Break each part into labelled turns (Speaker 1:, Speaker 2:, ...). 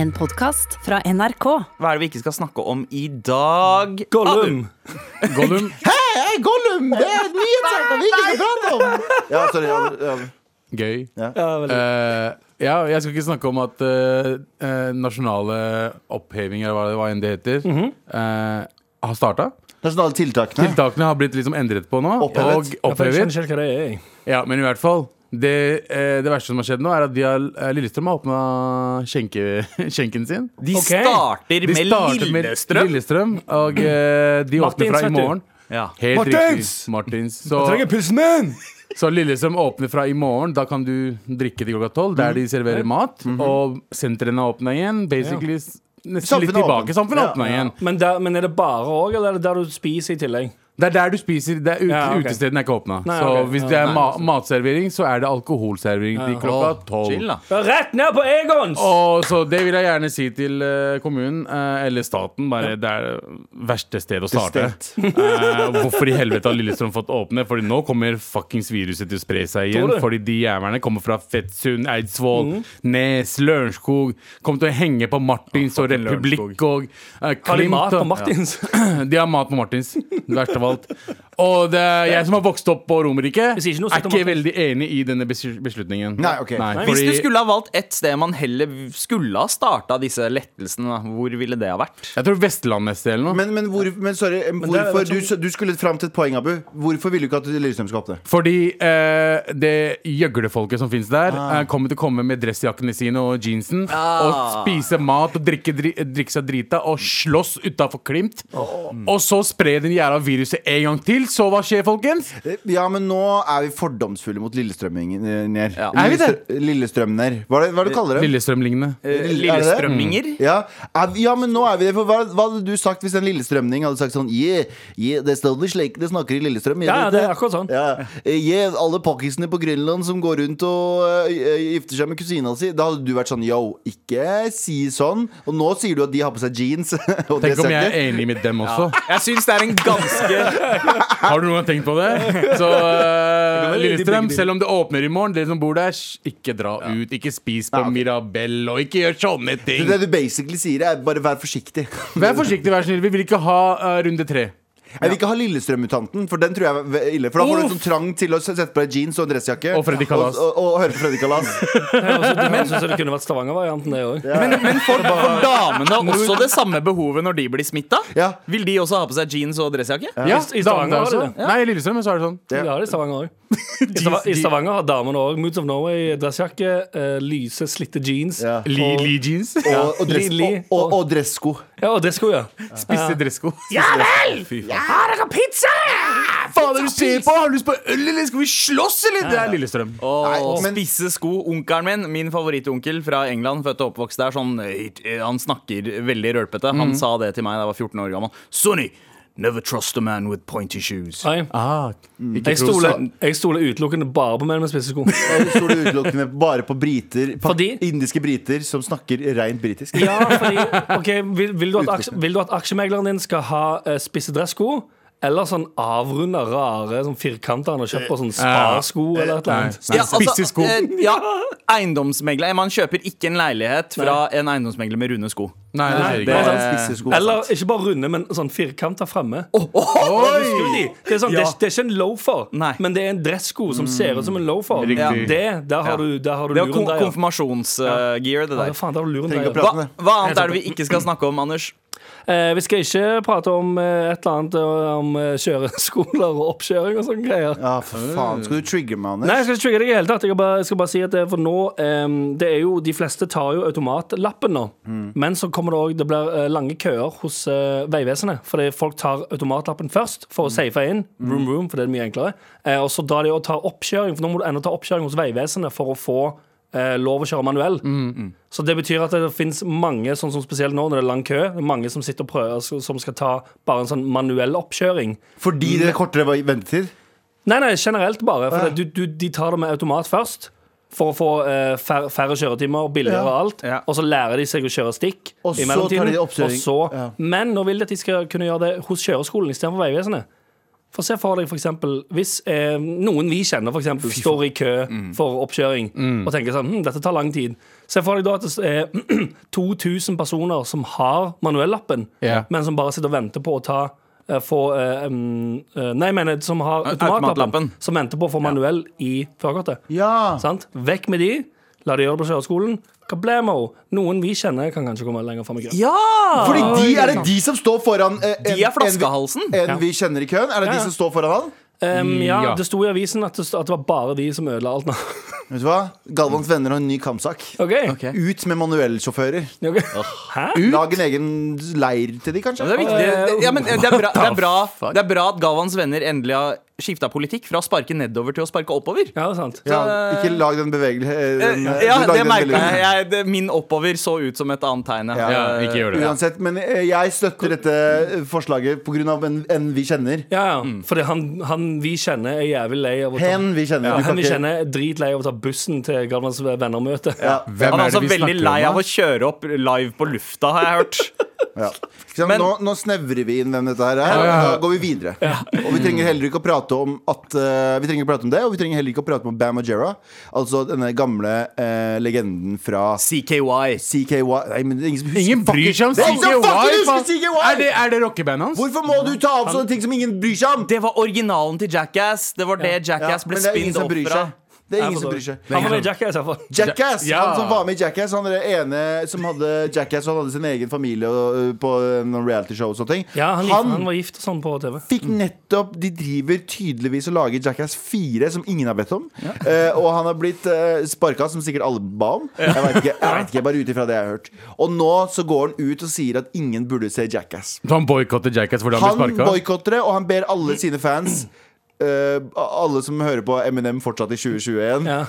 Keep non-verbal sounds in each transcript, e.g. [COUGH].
Speaker 1: En podkast fra NRK.
Speaker 2: Hva er det vi ikke skal snakke om i dag?
Speaker 3: Gollum! Gollum.
Speaker 4: Hei, Gollum! Det er et nyhetssak vi ikke skal prate om! Ja, sorry. Ja, ja.
Speaker 3: Gøy.
Speaker 4: Ja.
Speaker 3: Eh, ja, jeg skal ikke snakke om at eh, eh, nasjonale oppheving, eller hva det, hva enn det heter,
Speaker 5: Mhm.
Speaker 3: eh, har starta.
Speaker 4: Nasjonale tiltakene.
Speaker 3: Tiltakene har blitt liksom endret på nå.
Speaker 4: Opphevet.
Speaker 5: Ja,
Speaker 3: Og
Speaker 5: for jeg
Speaker 3: opphevet.
Speaker 5: skjønner ikke helt hva det er. jeg.
Speaker 3: Ja, men i hvert fall. Det, eh, det verste som har skjedd nå, er at de har, eh, Lillestrøm har åpna skjenke, [LAUGHS] skjenken sin.
Speaker 2: De
Speaker 5: Ok.
Speaker 2: starter
Speaker 3: De
Speaker 2: med
Speaker 3: starter med
Speaker 2: Lillestrøm.
Speaker 3: Lillestrøm, og eh, de åpner
Speaker 5: Martins,
Speaker 3: fra i
Speaker 5: vet du.
Speaker 3: morgen.
Speaker 2: Ja.
Speaker 3: Helt
Speaker 5: Martins!
Speaker 3: riktig. Martins.
Speaker 5: Jeg
Speaker 3: Så,
Speaker 5: trenger pilsen min!
Speaker 3: så Lillestrøm åpner fra i morgen. Da kan du drikke til klokka tolv, der de serverer mat. Og sentrene har åpna igjen. Basically s- nesten litt
Speaker 4: Samfunnet er åpent.
Speaker 3: tilbake. Samfunnet har
Speaker 4: Ja.
Speaker 3: åpna igjen.
Speaker 5: Men, der, men er det bare òg, eller er det der du spiser i tillegg?
Speaker 3: Det er der du spiser. Det er ut,
Speaker 5: Ja, ok.
Speaker 3: Utestedene er ikke åpna.
Speaker 5: Nei,
Speaker 3: Så
Speaker 5: ok.
Speaker 3: hvis
Speaker 5: Ja,
Speaker 3: det er ma matservering, så er det alkoholservering til klokka tolv.
Speaker 2: Chill, da.
Speaker 5: Rett ned på Egons!
Speaker 3: Og så Det vil jeg gjerne si til eh, kommunen, eh, eller staten. Bare Det er det verste sted å starte. [LAUGHS] Eh, hvorfor i helvete har Lillestrøm fått åpne? Fordi nå kommer fuckings viruset til å spre seg igjen.
Speaker 5: Tror du?
Speaker 3: Fordi de jævlene kommer fra Fettsund, Eidsvoll, Nes, Lørenskog. Kommer til å henge på Martins og fucking Republikk og eh,
Speaker 5: Har de
Speaker 3: Klimt
Speaker 5: mat på
Speaker 3: og-
Speaker 5: Martins?
Speaker 3: Ja. De har mat på Martins. Det verste av alt. Og det er jeg som har vokst opp på Romerike, er
Speaker 5: sier ikke noe søtt om
Speaker 3: ikke
Speaker 5: Martins.
Speaker 3: veldig enig i denne besky- beslutningen.
Speaker 4: Nei, ok.
Speaker 2: Hvis
Speaker 3: fordi-
Speaker 2: du skulle ha valgt ett sted man heller skulle ha starta disse lettelsene, da, hvor ville det ha vært?
Speaker 3: Jeg tror Vestlandet et sted eller noe.
Speaker 4: Men, men, hvor, men sorry,
Speaker 5: det er-
Speaker 4: hvorfor, du, du skulle fram til et poeng, Abu. Hvorfor ville du ikke at Lillestrøm skal åpne?
Speaker 3: Fordi eh, det gjøglefolket som finnes der,
Speaker 4: Ah.
Speaker 3: eh, kommer til å komme med dressjakkene sine og jeansen og
Speaker 4: Ah.
Speaker 3: spise mat og drikke, dri, drikke seg drita og slåss utafor Klimt.
Speaker 4: Mm.
Speaker 3: Og så spre den jævla viruset en gang til. Så hva skjer, folkens?
Speaker 4: Ja, men nå er vi fordomsfulle mot lillestrømminger.
Speaker 2: Ja.
Speaker 3: Er vi det?
Speaker 4: Lillestr- Lillestrømner. Hva er det, hva er det du kaller det?
Speaker 3: Lillestrøm-lignende.
Speaker 2: Eh,
Speaker 4: er det Mm. det?
Speaker 2: Lillestrømminger?
Speaker 4: Ja. Er vi- ja, men nå er vi det. For hva, hva hadde du sagt hvis en lillestrømning hadde sagt sånn Yeah, yeah det står vel slik det snakker i Lillestrøm. gjør
Speaker 5: Ja,
Speaker 4: ikke
Speaker 5: det er akkurat sånn.
Speaker 4: Ja. Eh, Gi alle pakkisene på Grønland som går rundt og eh, gifter seg med kusina si. Da hadde du vært sånn yo, ikke si sånn. Og nå sier du at de har på seg jeans. [LAUGHS] og
Speaker 3: Tenk om jeg
Speaker 4: dressjakke.
Speaker 3: er enig med dem også.
Speaker 2: Jeg syns det er en ganske
Speaker 3: Har du noen gang tenkt på
Speaker 4: [LAUGHS]
Speaker 3: det? Så eh,
Speaker 2: være
Speaker 3: Lillestrøm,
Speaker 2: begge deler.
Speaker 3: selv om det åpner i morgen, dere som bor der, sj, ikke dra ut. Ikke spis på
Speaker 4: Nei, ok.
Speaker 3: Mirabelle, og ikke gjør sånne ting.
Speaker 4: Det du basically sier, er bare vær forsiktig. [LAUGHS]
Speaker 3: Vær forsiktig, vær snill. Vi vil ikke ha eh, runde tre.
Speaker 4: Jeg vil ikke ha Lillestrøm-mutanten, for den tror jeg er ve- ille. For da får du en sånn trang til å s- sette på deg jeans og en dressjakke.
Speaker 3: Og Freddy Kalas.
Speaker 4: Og, og, og høre på Freddy Kalas.
Speaker 5: [LAUGHS] Jeg syns det kunne vært Stavanger-varianten, det òg.
Speaker 2: Men, men får, får damene også det samme behovet når de blir smitta?
Speaker 4: Ja.
Speaker 2: Vil de også ha på seg jeans og dressjakke?
Speaker 3: Ja,
Speaker 5: I- i Stavanger
Speaker 3: damer
Speaker 5: har de
Speaker 3: også. Nei, i Lillestrøm så er det sånn.
Speaker 4: Ja.
Speaker 5: Ja, det er Stavanger også. I
Speaker 3: [LAUGHS]
Speaker 5: Stava- I Stavanger har damene òg Moods of Norway, dressjakke, eh, lyse, slitte jeans.
Speaker 4: Ja.
Speaker 3: Lee, Lee jeans.
Speaker 4: Og, og, dress,
Speaker 5: Lili.
Speaker 4: og, og, og dressko.
Speaker 5: Ja, og det skulle jeg.
Speaker 3: Spisse dressko. Ja vel! Har dere pizza? Faen, er du ser på? Har du lyst på øl, eller skal vi slåss, eller? Det er Lillestrøm.
Speaker 2: Og
Speaker 4: Nei, men-
Speaker 2: spisse sko. Onkelen min, min favorittonkel fra England, født og oppvokst der, sånn, eh, han snakker veldig rølpete. Han sa det til meg da jeg var 14 år gammel. Sonny, never trust a man with pointy shoes.
Speaker 5: Nei.
Speaker 3: Ah, ikke
Speaker 5: Jeg
Speaker 3: tro
Speaker 5: stoler,
Speaker 3: sa-
Speaker 5: jeg stoler utelukkende bare på menn med spisse [LAUGHS] sko.
Speaker 4: Og så står du utelukkende bare på briter pa-
Speaker 5: Fordi-
Speaker 4: indiske briter som snakker rent britisk.
Speaker 5: Ja, fordi, ok, vil, vil, du at aksje, vil du at aksjemegleren din skal ha eh, spisse dressko? Eller sånn avrunda, rare sånn firkanter han har kjøpt på sånn sparsko eller et eller annet?
Speaker 3: Eh, Nei, Spisse sko.
Speaker 2: eh, [LAUGHS] ja, eiendomsmegler. Man kjøper ikke en leilighet fra en eiendomsmegler med runde sko.
Speaker 3: Nei, det skjer
Speaker 4: Det
Speaker 3: ikke.
Speaker 4: er sånn spisse sko.
Speaker 5: Eller ikke bare runde, men sånn firkanter fremme. Husker du de? Det er, sånn, det, er, det er ikke en loafer,
Speaker 2: Nei.
Speaker 5: men det er en dressko som ser ut som en loafer.
Speaker 3: Mm, Riktig.
Speaker 2: Ja.
Speaker 5: Det, der har du, der har du
Speaker 2: Det er
Speaker 5: luren
Speaker 2: kon
Speaker 5: der. Ja.
Speaker 2: konfirmasjonsgear, det
Speaker 5: Ja,
Speaker 2: der.
Speaker 5: faen, der har du luren
Speaker 4: Trenger
Speaker 5: der.
Speaker 4: å
Speaker 5: ja.
Speaker 4: prate.
Speaker 2: Hva,
Speaker 4: Pratende.
Speaker 2: hva annet er det vi ikke skal snakke om, Anders?
Speaker 5: Eh, vi skal ikke prate om eh, et eller annet eh, om eh, kjøreskoler og oppkjøring og sånne greier.
Speaker 4: Ja, for faen. Skal du trigge meg, Anders?
Speaker 5: Nei, jeg skal ikke trigge deg i det hele tatt. Jeg, skal bare, jeg skal bare si at det, for nå ehm, det er jo, De fleste tar jo automatlappen nå. Men så kommer det òg Det blir eh, lange køer hos eh, Vegvesenet. Fordi folk tar automatlappen først for å safe inn. Room, room, for det er mye enklere. Eh, og så drar de og tar oppkjøring, for nå må du ennå ta oppkjøring hos Vegvesenet for å få eh, lov å kjøre manuell. Så det betyr at det finnes mange, sånn som spesielt nå når det er lang kø, mange som sitter og prøver som skal ta bare en sånn manuell oppkjøring.
Speaker 4: Fordi det er kortere vei- ventetid?
Speaker 5: Nei, nei, generelt bare. For det- du, du, de tar det med automat først. For å få eh, fær, færre kjøretimer, billigere
Speaker 4: Ja.
Speaker 5: og alt.
Speaker 2: Ja.
Speaker 5: Og så lærer de seg å kjøre stikk.
Speaker 4: Og
Speaker 5: i
Speaker 4: så
Speaker 5: mellomtiden,
Speaker 4: tar de
Speaker 5: Og
Speaker 4: oppkjøring.
Speaker 5: så,
Speaker 4: Ja.
Speaker 5: Men nå vil de at de skal kunne gjøre det hos kjøreskolen istedenfor Vegvesenet. For se for deg for eksempel, hvis eh, noen vi kjenner for eksempel, står i kø for oppkjøring og tenker sånn hm, dette tar lang tid. Se for deg da at det [CLEARS THROAT] er 2000 personer som har manuellappen,
Speaker 3: Ja.
Speaker 5: men som bare sitter og venter på å ta eh, få eh, mm, eh, Nei, jeg mener som har automatlappen.
Speaker 2: automatlappen.
Speaker 5: Som venter på å få manuell i førerkortet.
Speaker 4: Ja.
Speaker 5: Sant? Vekk med de. La de gjøre det på kjøreskolen. Kablamo. Noen vi kjenner, kan kanskje komme lenger fram i køen.
Speaker 2: Ja!
Speaker 5: Ah,
Speaker 4: Fordi de er det de som står foran eh, en,
Speaker 2: De er
Speaker 4: en,
Speaker 2: flaskehalsen.
Speaker 4: vi- en vi kjenner i køen? Er det
Speaker 5: Ja, ja.
Speaker 4: de som står foran han?
Speaker 5: Em, ja,
Speaker 3: Ja.
Speaker 5: Det sto i avisen at det, sto- at det var bare de som ødela alt nå. [LAUGHS]
Speaker 4: Vet du hva? Galvans venner har en ny kampsak.
Speaker 5: OK?
Speaker 2: Ok.
Speaker 4: Ut med manuellsjåfører.
Speaker 5: Ok. Hæ?
Speaker 4: Lag en egen leir til de,
Speaker 2: Ja,
Speaker 4: kanskje.
Speaker 2: men det er viktig. Det, ja, men eh, det, er bra, det, er bra, det er bra at Galvans venner endelig har skifta politikk fra å sparke nedover til å sparke oppover.
Speaker 5: Ja, det er sant.
Speaker 4: Ja, ikke lag den bevegelsen.
Speaker 2: Eh, Ja, det merka jeg. jeg det, min oppover så ut som et annet tegn.
Speaker 4: Ja.
Speaker 3: Ja, ikke gjør det.
Speaker 4: Uansett, men eh, jeg støtter dette eh, forslaget pga. En, en vi kjenner.
Speaker 5: Ja, ja. Fordi han, han vi kjenner, er jævlig lei av å ta
Speaker 4: Hen vi kjenner.
Speaker 5: ja,
Speaker 4: Du kan
Speaker 5: Han vi
Speaker 4: ikke-
Speaker 5: kjenner er dritlei av å ta bussen til Galvans vennermøte.
Speaker 4: Ja.
Speaker 3: Hvem
Speaker 2: Han er
Speaker 3: er det
Speaker 2: altså
Speaker 3: vi
Speaker 2: veldig
Speaker 3: snakker
Speaker 2: lei
Speaker 3: om?
Speaker 2: av
Speaker 3: da?
Speaker 2: å kjøre opp live på lufta, har jeg hørt.
Speaker 4: Ja. Ikke sant?
Speaker 2: Men-
Speaker 4: nå, nå snevrer vi inn hvem dette her er,
Speaker 3: Ja, ja, ja.
Speaker 4: og da går vi videre. Og vi trenger heller ikke å prate om at eh, Vi trenger ikke å prate om det, og vi trenger heller ikke å prate om Bam Majera, altså denne gamle eh, legenden fra
Speaker 2: CKY.
Speaker 4: CKY Nei, men det er ingen som husker
Speaker 3: Ingen bryr seg om
Speaker 4: Det er ingen som fucking
Speaker 3: CKY!
Speaker 4: husker
Speaker 3: faen.
Speaker 4: CKY!
Speaker 3: Er det, er det rockebandet hans?
Speaker 4: Hvorfor må du ta opp sånne ting som ingen bryr seg om?
Speaker 2: Det var originalen til Jackass. Det var det Jackass ble
Speaker 4: men det er ingen
Speaker 2: spinnet
Speaker 4: som
Speaker 2: opp
Speaker 4: bryr
Speaker 2: fra.
Speaker 4: seg. Det er ingen som bryr seg.
Speaker 5: Han var med i Jackass, iallfall.
Speaker 4: Jackass,
Speaker 3: Ja.
Speaker 4: han som var med i Jackass Han er det ene som hadde Jackass Og han hadde sin egen familie og, uh, på uh, noen reality show og sånne ting
Speaker 5: Ja, han,
Speaker 4: Han-
Speaker 5: han var gift og sånn på TV.
Speaker 4: fikk nettopp De driver tydeligvis og lager Jackass 4, som ingen har bedt om. [LAUGHS] Eh, og han har blitt uh, sparka, som sikkert alle ba om. Jeg vet ikke, jeg vet ikke
Speaker 5: [LAUGHS]
Speaker 4: bare ut ifra det jeg har hørt. Og nå så går han ut og sier at ingen burde se Jackass.
Speaker 3: Så han boikotter Jackass fordi han
Speaker 4: Han
Speaker 3: blir sparka?
Speaker 4: boikotter det, og han ber alle sine fans eh, alle som hører på Eminem fortsatt i 2021,
Speaker 5: Ja.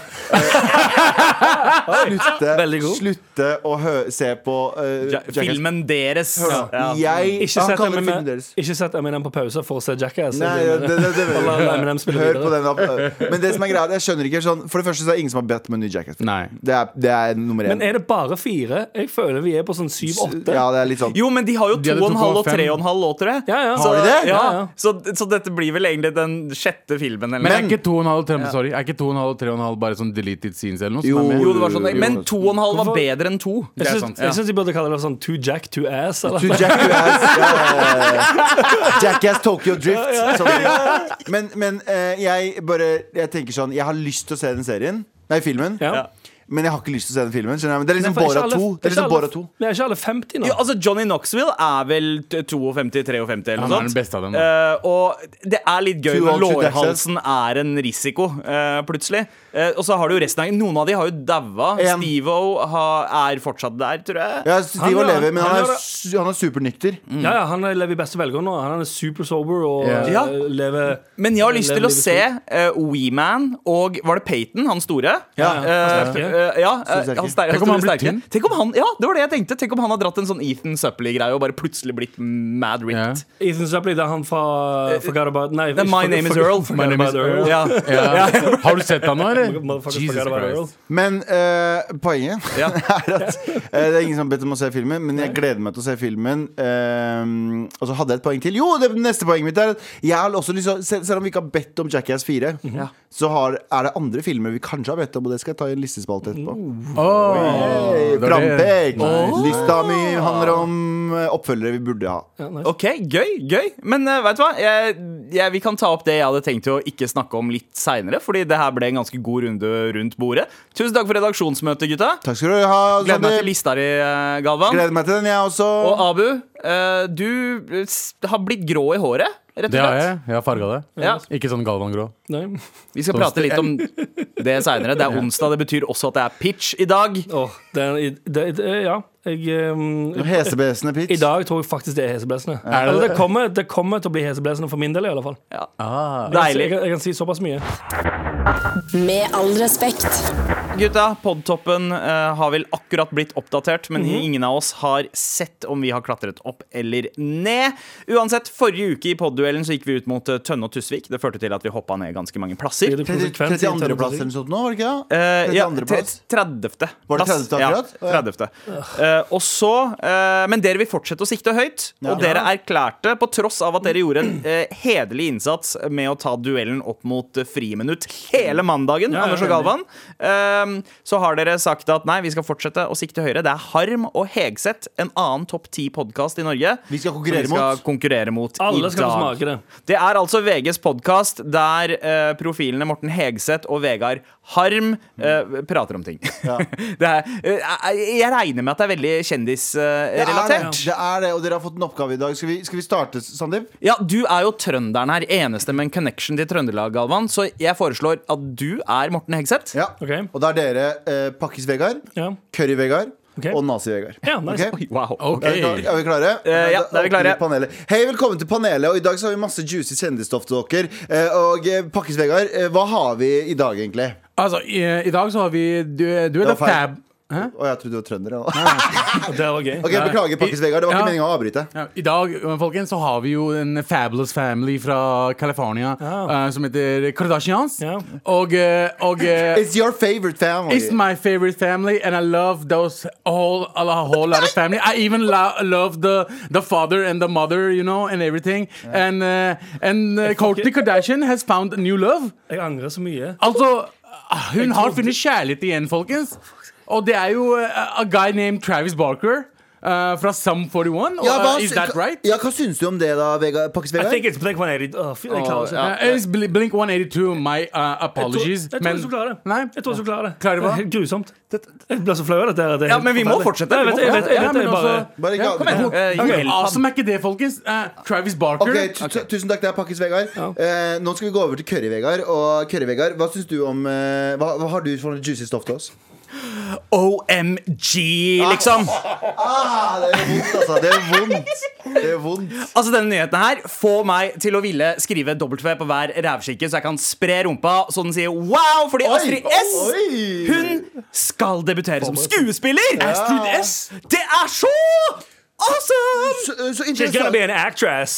Speaker 4: slutte,
Speaker 5: Veldig god.
Speaker 4: slutte å hø se på eh,
Speaker 2: Ja,
Speaker 4: Jackass.
Speaker 2: Filmen deres.
Speaker 4: Hør da.
Speaker 2: Ja.
Speaker 4: Jeg,
Speaker 5: Ikke
Speaker 4: han
Speaker 5: sett,
Speaker 4: kaller det
Speaker 5: Eminem,
Speaker 4: filmen deres.
Speaker 5: ikke sett Eminem på pause for å se Jackass.
Speaker 4: Nei, det, det, det, det,
Speaker 5: Og la Eminem spille
Speaker 4: Hør på
Speaker 5: videre.
Speaker 4: den opp. Men det som er greia, jeg skjønner ikke sånn, For det første så er det ingen som har bedt om en ny Jackass.
Speaker 3: Nei.
Speaker 4: Det er, det er nummer én.
Speaker 5: Men er det bare fire? Jeg føler vi er på sånn syv-åtte.
Speaker 4: Ja, det er litt sånn
Speaker 2: Jo, men de har jo
Speaker 3: De
Speaker 2: to
Speaker 3: hadde
Speaker 2: og en halv og
Speaker 3: 2,5.
Speaker 2: tre og en halv låt, tror jeg.
Speaker 5: Ja, ja.
Speaker 2: Så,
Speaker 4: Har de det?
Speaker 2: Ja,
Speaker 5: Ja, ja.
Speaker 2: Så, så dette blir vel egentlig den sjette filmen. Eller
Speaker 3: Men
Speaker 2: noe.
Speaker 3: er ikke 2,5 tre- sorry, er ikke 2,5 og 3,5 bare sånn deleted scenes eller noe?
Speaker 4: Jo.
Speaker 2: [LAUGHS]
Speaker 3: som er med?
Speaker 2: jo, det var sånn,
Speaker 4: Jo,
Speaker 2: men
Speaker 4: jo.
Speaker 2: to og en halv var
Speaker 5: Hvorfor-
Speaker 2: bedre enn to.
Speaker 3: Det
Speaker 5: Jeg
Speaker 3: er
Speaker 5: syns
Speaker 3: sant,
Speaker 5: jeg
Speaker 3: ja.
Speaker 5: syns de burde kalle det sånn two jack, two ass. Eller?
Speaker 4: To Jackass, ja, ja, ja, ja.
Speaker 5: [LAUGHS]
Speaker 4: Jackass Tokyo Drift. sånn. Men, men eh, jeg bare Jeg tenker sånn Jeg har lyst til å se den serien. Nei, filmen.
Speaker 5: Ja.
Speaker 4: Men jeg har ikke lyst til å se den filmen. skjønner jeg. Men det er
Speaker 5: Men
Speaker 4: liksom
Speaker 5: for ikke
Speaker 4: Bora
Speaker 5: alle-
Speaker 4: 2. Det er
Speaker 5: ikke
Speaker 4: liksom
Speaker 5: alle-
Speaker 4: Bora 2.
Speaker 5: Vi er ikke alle 50 nå.
Speaker 2: Jo, altså Johnny Knoxville er vel 52-53 eller
Speaker 3: Han
Speaker 2: noe
Speaker 3: er den
Speaker 2: sånt.
Speaker 3: beste av dem, da.
Speaker 2: Eh, og det er litt gøy
Speaker 4: Two
Speaker 2: når
Speaker 4: old, two
Speaker 2: lårhalsen er en risiko, eh, plutselig. Eh, og så har du resten av Noen av de har jo daua.
Speaker 4: En.
Speaker 2: Steve-O har- er fortsatt der, tror jeg.
Speaker 4: Ja, Steve
Speaker 5: Han-
Speaker 4: O'Lever, men han
Speaker 5: han
Speaker 4: er,
Speaker 5: har-
Speaker 4: su- han er supernykter.
Speaker 5: Ja, ja, han lever i beste velgående. nå. Han er super sober og
Speaker 3: Ja.
Speaker 5: eh,
Speaker 2: Ja.
Speaker 5: lever
Speaker 2: Men jeg har lyst til å
Speaker 5: lever
Speaker 2: se
Speaker 5: livet
Speaker 2: uh, Weeman og Var det Peyton, han store?
Speaker 5: Ja,
Speaker 2: Eh,
Speaker 5: ja, han sterke.
Speaker 2: eh, ja, eh,
Speaker 4: sterke.
Speaker 2: han sterke.
Speaker 3: Tenk om han ble
Speaker 2: sterke.
Speaker 3: tynn.
Speaker 2: Tenk om han, ja, det var det jeg tenkte. Tenk om han har dratt en sånn Ethan Suppley-greie og bare plutselig blitt mad ripped.
Speaker 5: stort. Ethan Suppley, det er han fra
Speaker 4: Eh,
Speaker 5: Forgot About Nei,
Speaker 2: Nei,
Speaker 5: ikke
Speaker 2: my
Speaker 5: Forgot-
Speaker 2: name is
Speaker 5: Forgot-
Speaker 2: Earl.
Speaker 5: Forgot
Speaker 3: My name
Speaker 5: About
Speaker 3: is Earl.
Speaker 2: Ja.
Speaker 3: Ja. Har du sett han nå, eller?
Speaker 5: Motherfucker,
Speaker 3: Jesus
Speaker 5: forgot about Earl.
Speaker 3: Christ.
Speaker 4: Men eh, poenget
Speaker 2: Ja.
Speaker 4: [LAUGHS] er at eh, det er ingen som har bedt om å se filmen, men jeg gleder meg til å se filmen. Eh, og så hadde jeg et poeng til. Jo, det neste poenget mitt er at jeg har også lyst til å- sel- Selv om vi ikke har bedt om Jackass 4,
Speaker 2: Mhm.
Speaker 4: så har, er det andre filmer vi kanskje har bedt om, og det skal jeg ta i en listespalte etterpå.
Speaker 2: Oh,
Speaker 3: Åh,
Speaker 4: Hey,
Speaker 3: det var det.
Speaker 4: Frampek! Lista mi handler om eh, oppfølgere vi burde ha.
Speaker 5: Ja, nice.
Speaker 2: OK, gøy, gøy. Men eh, vet du hva? Jeg, jeg, vi kan ta opp det jeg hadde tenkt å ikke snakke om litt seinere, fordi det her ble en ganske god runde rundt bordet. Tusen takk for redaksjonsmøtet, gutta.
Speaker 4: Takk skal du ha,
Speaker 2: Gleder meg til
Speaker 4: Sander.
Speaker 2: lista di, eh, Galvan.
Speaker 4: Gleder meg til den, jeg også.
Speaker 2: Og Abu, eh, du eh, s- har blitt grå i håret, rett og
Speaker 3: Det har jeg.
Speaker 2: slett.
Speaker 3: Jeg har farga det.
Speaker 2: Ja.
Speaker 3: Ikke sånn Galvan-grå.
Speaker 5: Nei.
Speaker 2: Vi skal prate litt om det seinere. Det er onsdag, det betyr også at det er pitch i dag.
Speaker 5: Åh, det er, det, det, ja. Jeg, um,
Speaker 4: Hesebesende pitch.
Speaker 5: I dag tror jeg faktisk det er heseblesende.
Speaker 3: Er det
Speaker 5: Eller
Speaker 3: det?
Speaker 5: det, kommer, det kommer til å bli heseblesende for min del, i alle fall.
Speaker 2: Ja.
Speaker 4: Ah.
Speaker 5: Jeg kan si-
Speaker 2: Deilig.
Speaker 5: Jeg, kan- jeg kan si såpass mye.
Speaker 6: Med all respekt.
Speaker 2: Gutta, podtoppen eh, har vel akkurat blitt oppdatert, men ingen av oss har sett om vi har klatret opp eller ned. Uansett, forrige uke i podduellen så gikk vi ut mot eh, Tønne og Tusvik. Det førte til at vi hoppa ned ganske mange plasser.
Speaker 5: Det er konsekvent i
Speaker 4: 32. plass eller noe sånt nå, var det ikke det?
Speaker 2: Eh, ja,
Speaker 4: 32.
Speaker 2: tre-
Speaker 4: plass.
Speaker 2: 30.
Speaker 4: Var det
Speaker 2: plass.
Speaker 4: 30. akkurat?
Speaker 2: Ja, 30. Eh, og så, eh, men dere vil fortsette å sikte høyt, og dere erklærte, på tross av at dere gjorde en eh, hederlig innsats med å ta duellen opp mot eh, friminutt hele mandagen,
Speaker 5: Ja, ja,
Speaker 2: Anders og
Speaker 5: enig.
Speaker 2: Galvan, eh, så har dere sagt at nei, vi skal fortsette å sikte høyere. Det er Harm og Hegseth, en annen topp ti-podkast i Norge.
Speaker 4: Vi skal
Speaker 2: som
Speaker 4: konkurrere
Speaker 2: vi skal
Speaker 4: mot.
Speaker 2: konkurrere mot
Speaker 5: Alle
Speaker 2: i
Speaker 5: skal få
Speaker 2: dag.
Speaker 5: smake det.
Speaker 2: Det er altså VGs podkast der eh, profilene Morten Hegseth og Vegard Harm eh, prater om ting. [LAUGHS] det er, eh, jeg regner med at det er veldig
Speaker 4: Det er det,
Speaker 2: kjendisrelatert.
Speaker 4: det er det, og dere har fått en oppgave i dag. Skal vi, skal vi starte, Sandeep?
Speaker 2: ja, du er jo trønderen her, eneste med en connection til Trøndelag, Galvan. Så jeg foreslår at du er Morten Hegseth.
Speaker 4: Ja.
Speaker 5: Ok.
Speaker 4: Og da er dere eh, Pakkis-Vegard,
Speaker 5: Ja.
Speaker 4: Curry-Vegard
Speaker 5: Ok.
Speaker 4: og Nazi-Vegard.
Speaker 5: Ja, nice.
Speaker 4: Ok?
Speaker 2: [LAUGHS] Wow.
Speaker 3: Oh,
Speaker 4: Er vi klar- er vi klare?
Speaker 2: Eh, ja, da er vi klare.
Speaker 4: Åpner panelet. Hei, velkommen til panelet. Og I dag så har vi masse juicy kjendisstoff til dere. Eh, Og eh, Pakkis-Vegard, eh, hva har vi i dag, egentlig?
Speaker 3: Altså, i, i dag så har vi du, du er
Speaker 4: var feil.
Speaker 3: fab. Hæ?
Speaker 4: Å, jeg trodde du var trønder. Ja.
Speaker 5: Det var gøy.
Speaker 4: Ok, Beklager, Pakkis-Vegard. Det var
Speaker 3: Ja.
Speaker 4: ikke meningen å avbryte.
Speaker 3: Ja, I dag folkens, så har vi jo en fabulous family fra California
Speaker 5: Ja.
Speaker 4: Ah.
Speaker 3: eh, som heter Kardashians.
Speaker 5: Ja.
Speaker 3: Og, eh, og eh,
Speaker 4: It's your favorite family.
Speaker 3: It's my favorite family, and I love those whole a lo- whole lot of family. I even lo love the the father and the mother, you know, and everything. And uh, and uh, Kourtney Kardashian has found a new love.
Speaker 5: Jeg angrer så mye.
Speaker 3: Altså, hun har funnet kjærlighet igjen, folkens. Og det er jo uh, a guy named Travis Barker uh, fra Sum 41.
Speaker 4: Ja,
Speaker 3: Uh,
Speaker 4: hva-
Speaker 3: is that right?
Speaker 4: Ja, Hva syns du om det, da, Vegard-
Speaker 5: Jeg
Speaker 4: Pakkis-Vegard?
Speaker 5: tenker ikke på Blink 180. Åh, fy, jeg klarer ikke.
Speaker 2: Ja.
Speaker 3: Uh, it's Bl- Blink 182. My uh,
Speaker 5: Jeg tror-
Speaker 3: apologies.
Speaker 5: Jeg tror
Speaker 3: men-
Speaker 5: ikke du klarer det.
Speaker 3: Nei.
Speaker 5: Jeg tror ikke du klarer det.
Speaker 3: Klarer du hva?
Speaker 5: er helt grusomt. Jeg blir så flau av dette. her, Det er
Speaker 2: Ja,
Speaker 5: helt
Speaker 2: men vi må
Speaker 5: forferdelig.
Speaker 2: fortsette, vi
Speaker 5: Jeg vet,
Speaker 2: må
Speaker 5: jeg vet, jeg
Speaker 3: Ja,
Speaker 5: vet,
Speaker 3: men
Speaker 5: jeg bare
Speaker 3: også-
Speaker 4: Bare
Speaker 3: Ja, kom
Speaker 4: ga-
Speaker 3: igjen.
Speaker 2: Eh,
Speaker 3: Hvor
Speaker 2: Joel,
Speaker 3: awesome er ikke det, folkens? Uh, Travis Barker.
Speaker 4: Ok, tu- tu- Tusen takk, det er Pakkis Vegard. Eh, nå skal vi gå over til Curry-Vegard. Og Curry-Vegard, hva syns du om eh, hva, hva har du for noe juicy stoff til oss?
Speaker 2: OMG, liksom.
Speaker 4: Ah, det er vondt, altså. Det er vondt. Det er vondt.
Speaker 2: Altså denne nyheten her får meg til å ville skrive W på hver rævskikke, så jeg kan spre rumpa så den sier wow! Fordi Astrid S
Speaker 4: Oi!
Speaker 2: Hun skal debutere som skuespiller!
Speaker 4: Astrid
Speaker 2: S? Det er så awesome!
Speaker 4: Så, eh, så
Speaker 5: She's gonna
Speaker 4: interessant,
Speaker 5: be an actress.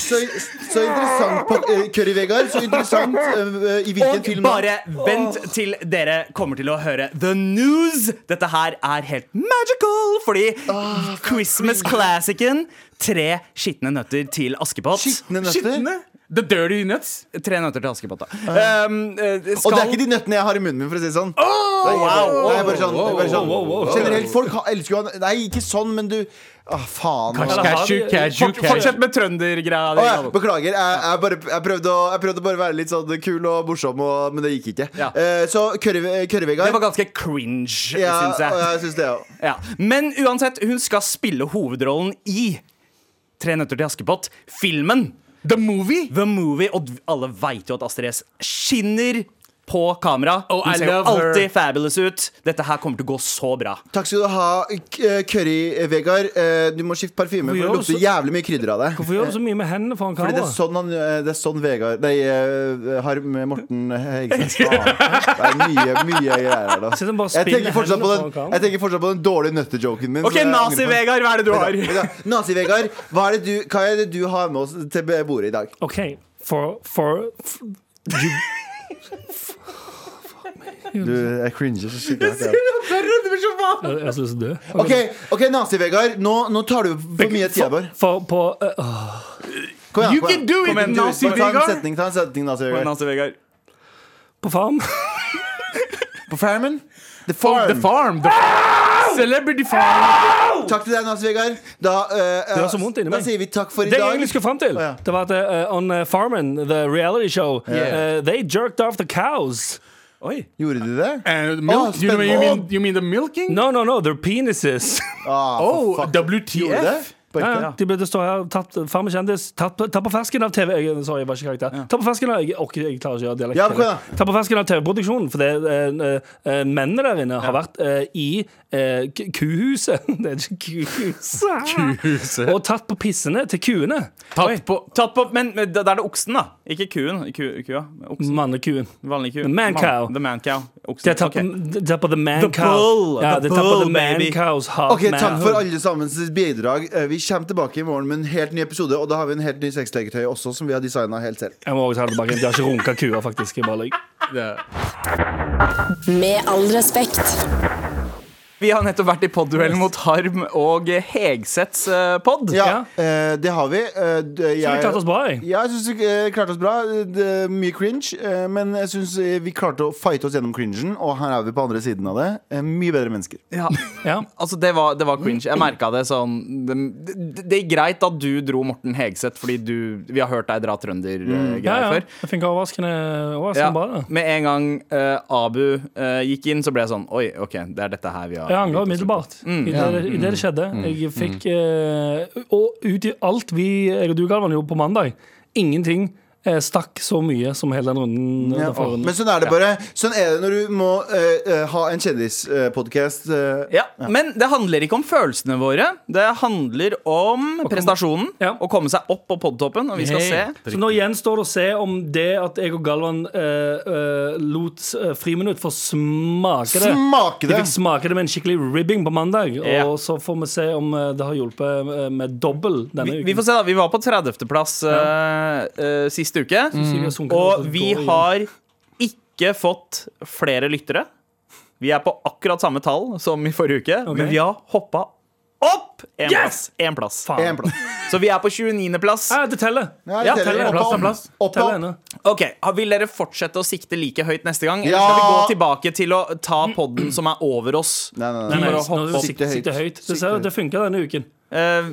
Speaker 4: så, så interessant Pak- eh, Curry-Vegard. Så interessant eh, i hvilken
Speaker 2: Og
Speaker 4: film da?
Speaker 2: bare vent til dere kommer til å høre the news. Dette her er helt magical, fordi Christmas-classicen Tre skitne nøtter til Askepott.
Speaker 4: Skitne nøtter?
Speaker 2: Skitne?
Speaker 3: The Dirty Nuts.
Speaker 2: Tre nøtter til Askepott, da. Um, eh,
Speaker 4: Og det
Speaker 2: skal-
Speaker 4: er ikke de nøttene jeg har i munnen min, for å si det sånn. Nei,
Speaker 2: wow,
Speaker 4: nei, bare sånn, bare sånn.
Speaker 5: wow, wow, wow.
Speaker 4: Generelt, folk har- elsker jo han Nei, ikke sånn, men du ah, Faen. altså.
Speaker 5: Eller har
Speaker 3: Cashew,
Speaker 5: vi-
Speaker 3: cashew,
Speaker 5: Fort-
Speaker 3: cashew.
Speaker 2: Fortsett med trøndergreia.
Speaker 4: Å,
Speaker 2: di,
Speaker 4: ja,
Speaker 2: Galvan.
Speaker 4: beklager. Jeg, jeg, bare, jeg, prøvde å, jeg prøvde bare å være litt sånn kul og morsom, og, men det gikk ikke.
Speaker 2: Ja.
Speaker 4: Eh, så Kørre-Vegard
Speaker 2: Det var ganske cringe,
Speaker 4: ja,
Speaker 2: syns jeg.
Speaker 4: og jeg synes det òg.
Speaker 2: Ja. Men uansett, hun skal spille hovedrollen i Tre nøtter til Askepott, filmen
Speaker 3: The Movie.
Speaker 2: The Movie. Og alle veit jo at Astrid S skinner på kamera.
Speaker 3: Oh,
Speaker 2: Hun
Speaker 3: I
Speaker 2: ser jo
Speaker 3: love her.
Speaker 2: alltid fabulous ut. Dette her kommer til å gå så bra.
Speaker 4: Takk skal du ha, Curry-Vegard. Du må skifte parfyme, for
Speaker 5: gjør
Speaker 4: det
Speaker 5: du
Speaker 4: lukter
Speaker 5: så-
Speaker 4: jævlig mye krydder av deg.
Speaker 5: Hvorfor gjør du så mye med hendene foran
Speaker 4: Fordi det er
Speaker 5: kamera?
Speaker 4: sånn, han, eh, det er sånn Vegard Nei, eh, Harm Morten Hegseth skal ha. Det er mye, mye greier her, da.
Speaker 5: Sitter han bare og
Speaker 4: Jeg
Speaker 5: spinner
Speaker 4: tenker fortsatt
Speaker 5: hendene
Speaker 4: på den,
Speaker 5: på han, Karl.
Speaker 4: jeg tenker fortsatt på den dårlige nøttejoken min.
Speaker 2: OK,
Speaker 4: så jeg angrer på den.
Speaker 2: Nazi-Vegard, hva er det du har?
Speaker 4: Vent da, vent da. Nazi-Vegard, hva, er det du- hva er det du har med oss til bordet i dag?
Speaker 5: OK, for, for, for
Speaker 4: Du, jeg cringer så skikkelig hardt. ja.
Speaker 5: Jeg har så lyst til å dø.
Speaker 4: Ok, ok, Nazi-Vegard, nå, nå tar du for mye tid vår.
Speaker 5: For på eh, åh.
Speaker 4: Kom
Speaker 3: You can do it,
Speaker 4: Kom igjen, du- Ta en
Speaker 3: Nazi-Vegard.
Speaker 4: setning, ta en setning, Nazi-Vegard.
Speaker 2: Nazi-Vegard.
Speaker 5: På farm.
Speaker 4: På Farmen? The
Speaker 3: Oh,
Speaker 4: Farm.
Speaker 3: the Farm. The Celebrity Farm.
Speaker 4: Takk til deg, Nazi-Vegard. Da, eh,
Speaker 5: var så vondt inni
Speaker 4: da
Speaker 5: meg.
Speaker 4: sier vi takk for i
Speaker 5: Det jeg
Speaker 4: dag.
Speaker 5: egentlig skulle fram til,
Speaker 4: ja.
Speaker 5: det var at eh, on eh, Farmen, the reality show, eh, they jerked off the cows.
Speaker 4: Gjorde du det?
Speaker 2: Eh,
Speaker 3: And Eh, milk.
Speaker 4: Oh,
Speaker 3: you, know, you,
Speaker 4: spennende.
Speaker 3: mean, you mean the milking?
Speaker 5: No, no, no, their penises.
Speaker 4: Ah, for
Speaker 3: Oh,
Speaker 4: fuck. Gjorde du
Speaker 3: WTF?
Speaker 4: det? På ekte.
Speaker 5: Ja, ja. De burde stå her, tatt fram en kjendis. Tatt, på- tatt på fersken av TV jeg- Sorry, jeg var ikke karakter. Tatt på fersken av Jeg orker, jeg klarer ikke å gjøre dialekt.
Speaker 4: Ja, kom igjen,
Speaker 5: Tatt på fersken av TV-produksjonen, for det, eh, eh, eh, mennene der inne har vært eh, i eh, k- kuhuset. [LAUGHS] det er ikke kuhuset. Og tatt på pissene til kuene.
Speaker 2: Tatt på, tatt på men, men da da er det oksen, da. Ikke kuen. Ku, kua. Oksen.
Speaker 5: Mannekuen.
Speaker 2: Vanlig ku.
Speaker 5: The man cow.
Speaker 2: The man cow. Oksen.
Speaker 5: De har tatt,
Speaker 2: Ok.
Speaker 5: på- de har tatt på the man
Speaker 2: The
Speaker 5: cow.
Speaker 2: bull,
Speaker 5: ja,
Speaker 2: the
Speaker 5: de har tatt på
Speaker 2: bull,
Speaker 5: the man
Speaker 2: baby.
Speaker 5: cows hard
Speaker 4: Ok,
Speaker 5: man.
Speaker 4: Takk for alle sammens bidrag. Eh, Vi kommer tilbake i morgen med en helt ny episode. Og da har vi en helt ny sexleketøy også, som vi har designa helt selv.
Speaker 5: Jeg må også ta det tilbake. De har ikke runka kuer, faktisk. Jeg bare løy.
Speaker 6: Med all respekt.
Speaker 2: Vi har nettopp vært i podduellen mot Harm og Hegseths eh, pod.
Speaker 4: Ja, eh, det har vi. Eh, d-
Speaker 5: Vi klarte
Speaker 4: Jeg,
Speaker 5: oss bra, jeg.
Speaker 4: ja, jeg syns vi eh, klarte oss bra. Det er mye cringe, eh, men jeg syns vi klarte å fighte oss gjennom cringen, og her er vi på andre siden av det. Eh, Mye bedre mennesker.
Speaker 2: Ja.
Speaker 5: Ja.
Speaker 2: Altså, det var, det var cringe. Jeg merka det sånn det, det, det er greit at du dro Morten Hegseth, fordi du Vi har hørt deg dra trøndergreier
Speaker 5: Mm. Ja, ja.
Speaker 2: før.
Speaker 5: Jeg funka overraskende, overraskende
Speaker 2: Ja,
Speaker 5: bra. det.
Speaker 2: med en gang eh, Abu eh, gikk inn, så ble jeg sånn Oi, OK, det er dette her vi har
Speaker 5: Jeg angra umiddelbart i det, i det det skjedde. Jeg fikk eh, Og ut i alt vi, jeg og du, Galvan, gjorde på mandag, ingenting eh, stakk så mye som hele den runden. eh,
Speaker 4: Ja.
Speaker 5: den forrige runden.
Speaker 4: Men sånn er det bare. Sånn er det når du må eh, eh, ha en eh, kjendispodkast.
Speaker 2: Ja, Men det handler ikke om følelsene våre. Det handler om prestasjonen.
Speaker 5: Ja.
Speaker 2: Å komme seg opp på podtoppen. Og vi skal se.
Speaker 5: Så nå gjenstår det å se om det at jeg og Galvan eh, eh, lot eh, friminutt få smake det.
Speaker 4: Smake
Speaker 5: De
Speaker 4: det!
Speaker 5: fikk smake det med en skikkelig ribbing på mandag,
Speaker 2: Ja.
Speaker 5: og så får vi se om eh, det har hjulpet eh, med dobbel denne
Speaker 2: Vi,
Speaker 5: uken.
Speaker 2: vi får se, da. Vi var på 30.-plass eh, eh, sist uke.
Speaker 5: Sier vi har sunket,
Speaker 2: Og
Speaker 5: så
Speaker 2: vi
Speaker 5: går
Speaker 2: har ikke fått flere lyttere. Vi er på akkurat samme tall som i forrige uke, men vi har hoppa opp én plass.
Speaker 5: Yes!
Speaker 2: En plass.
Speaker 5: Faen.
Speaker 4: En plass.
Speaker 2: Så vi er på 29.-plass.
Speaker 5: Ja, Ah, det teller.
Speaker 4: Nei,
Speaker 2: Ja,
Speaker 4: det teller.
Speaker 2: teller.
Speaker 4: Opp, opp,
Speaker 5: Plass,
Speaker 4: opp, opp.
Speaker 5: Teller ennå.
Speaker 2: Ok, Vil dere fortsette å sikte like høyt neste gang? Eller
Speaker 4: Ja!
Speaker 2: skal vi gå tilbake til å ta podden som er over oss?
Speaker 4: Nei, nei,
Speaker 5: Nei,
Speaker 4: nei.
Speaker 5: nei,
Speaker 2: For å
Speaker 5: nå
Speaker 2: hoppe opp.
Speaker 5: sikter
Speaker 4: Sikte
Speaker 5: sikter høyt.
Speaker 4: høyt.
Speaker 5: Du ser,
Speaker 4: Sikte
Speaker 5: det funka denne uken.
Speaker 2: Eh,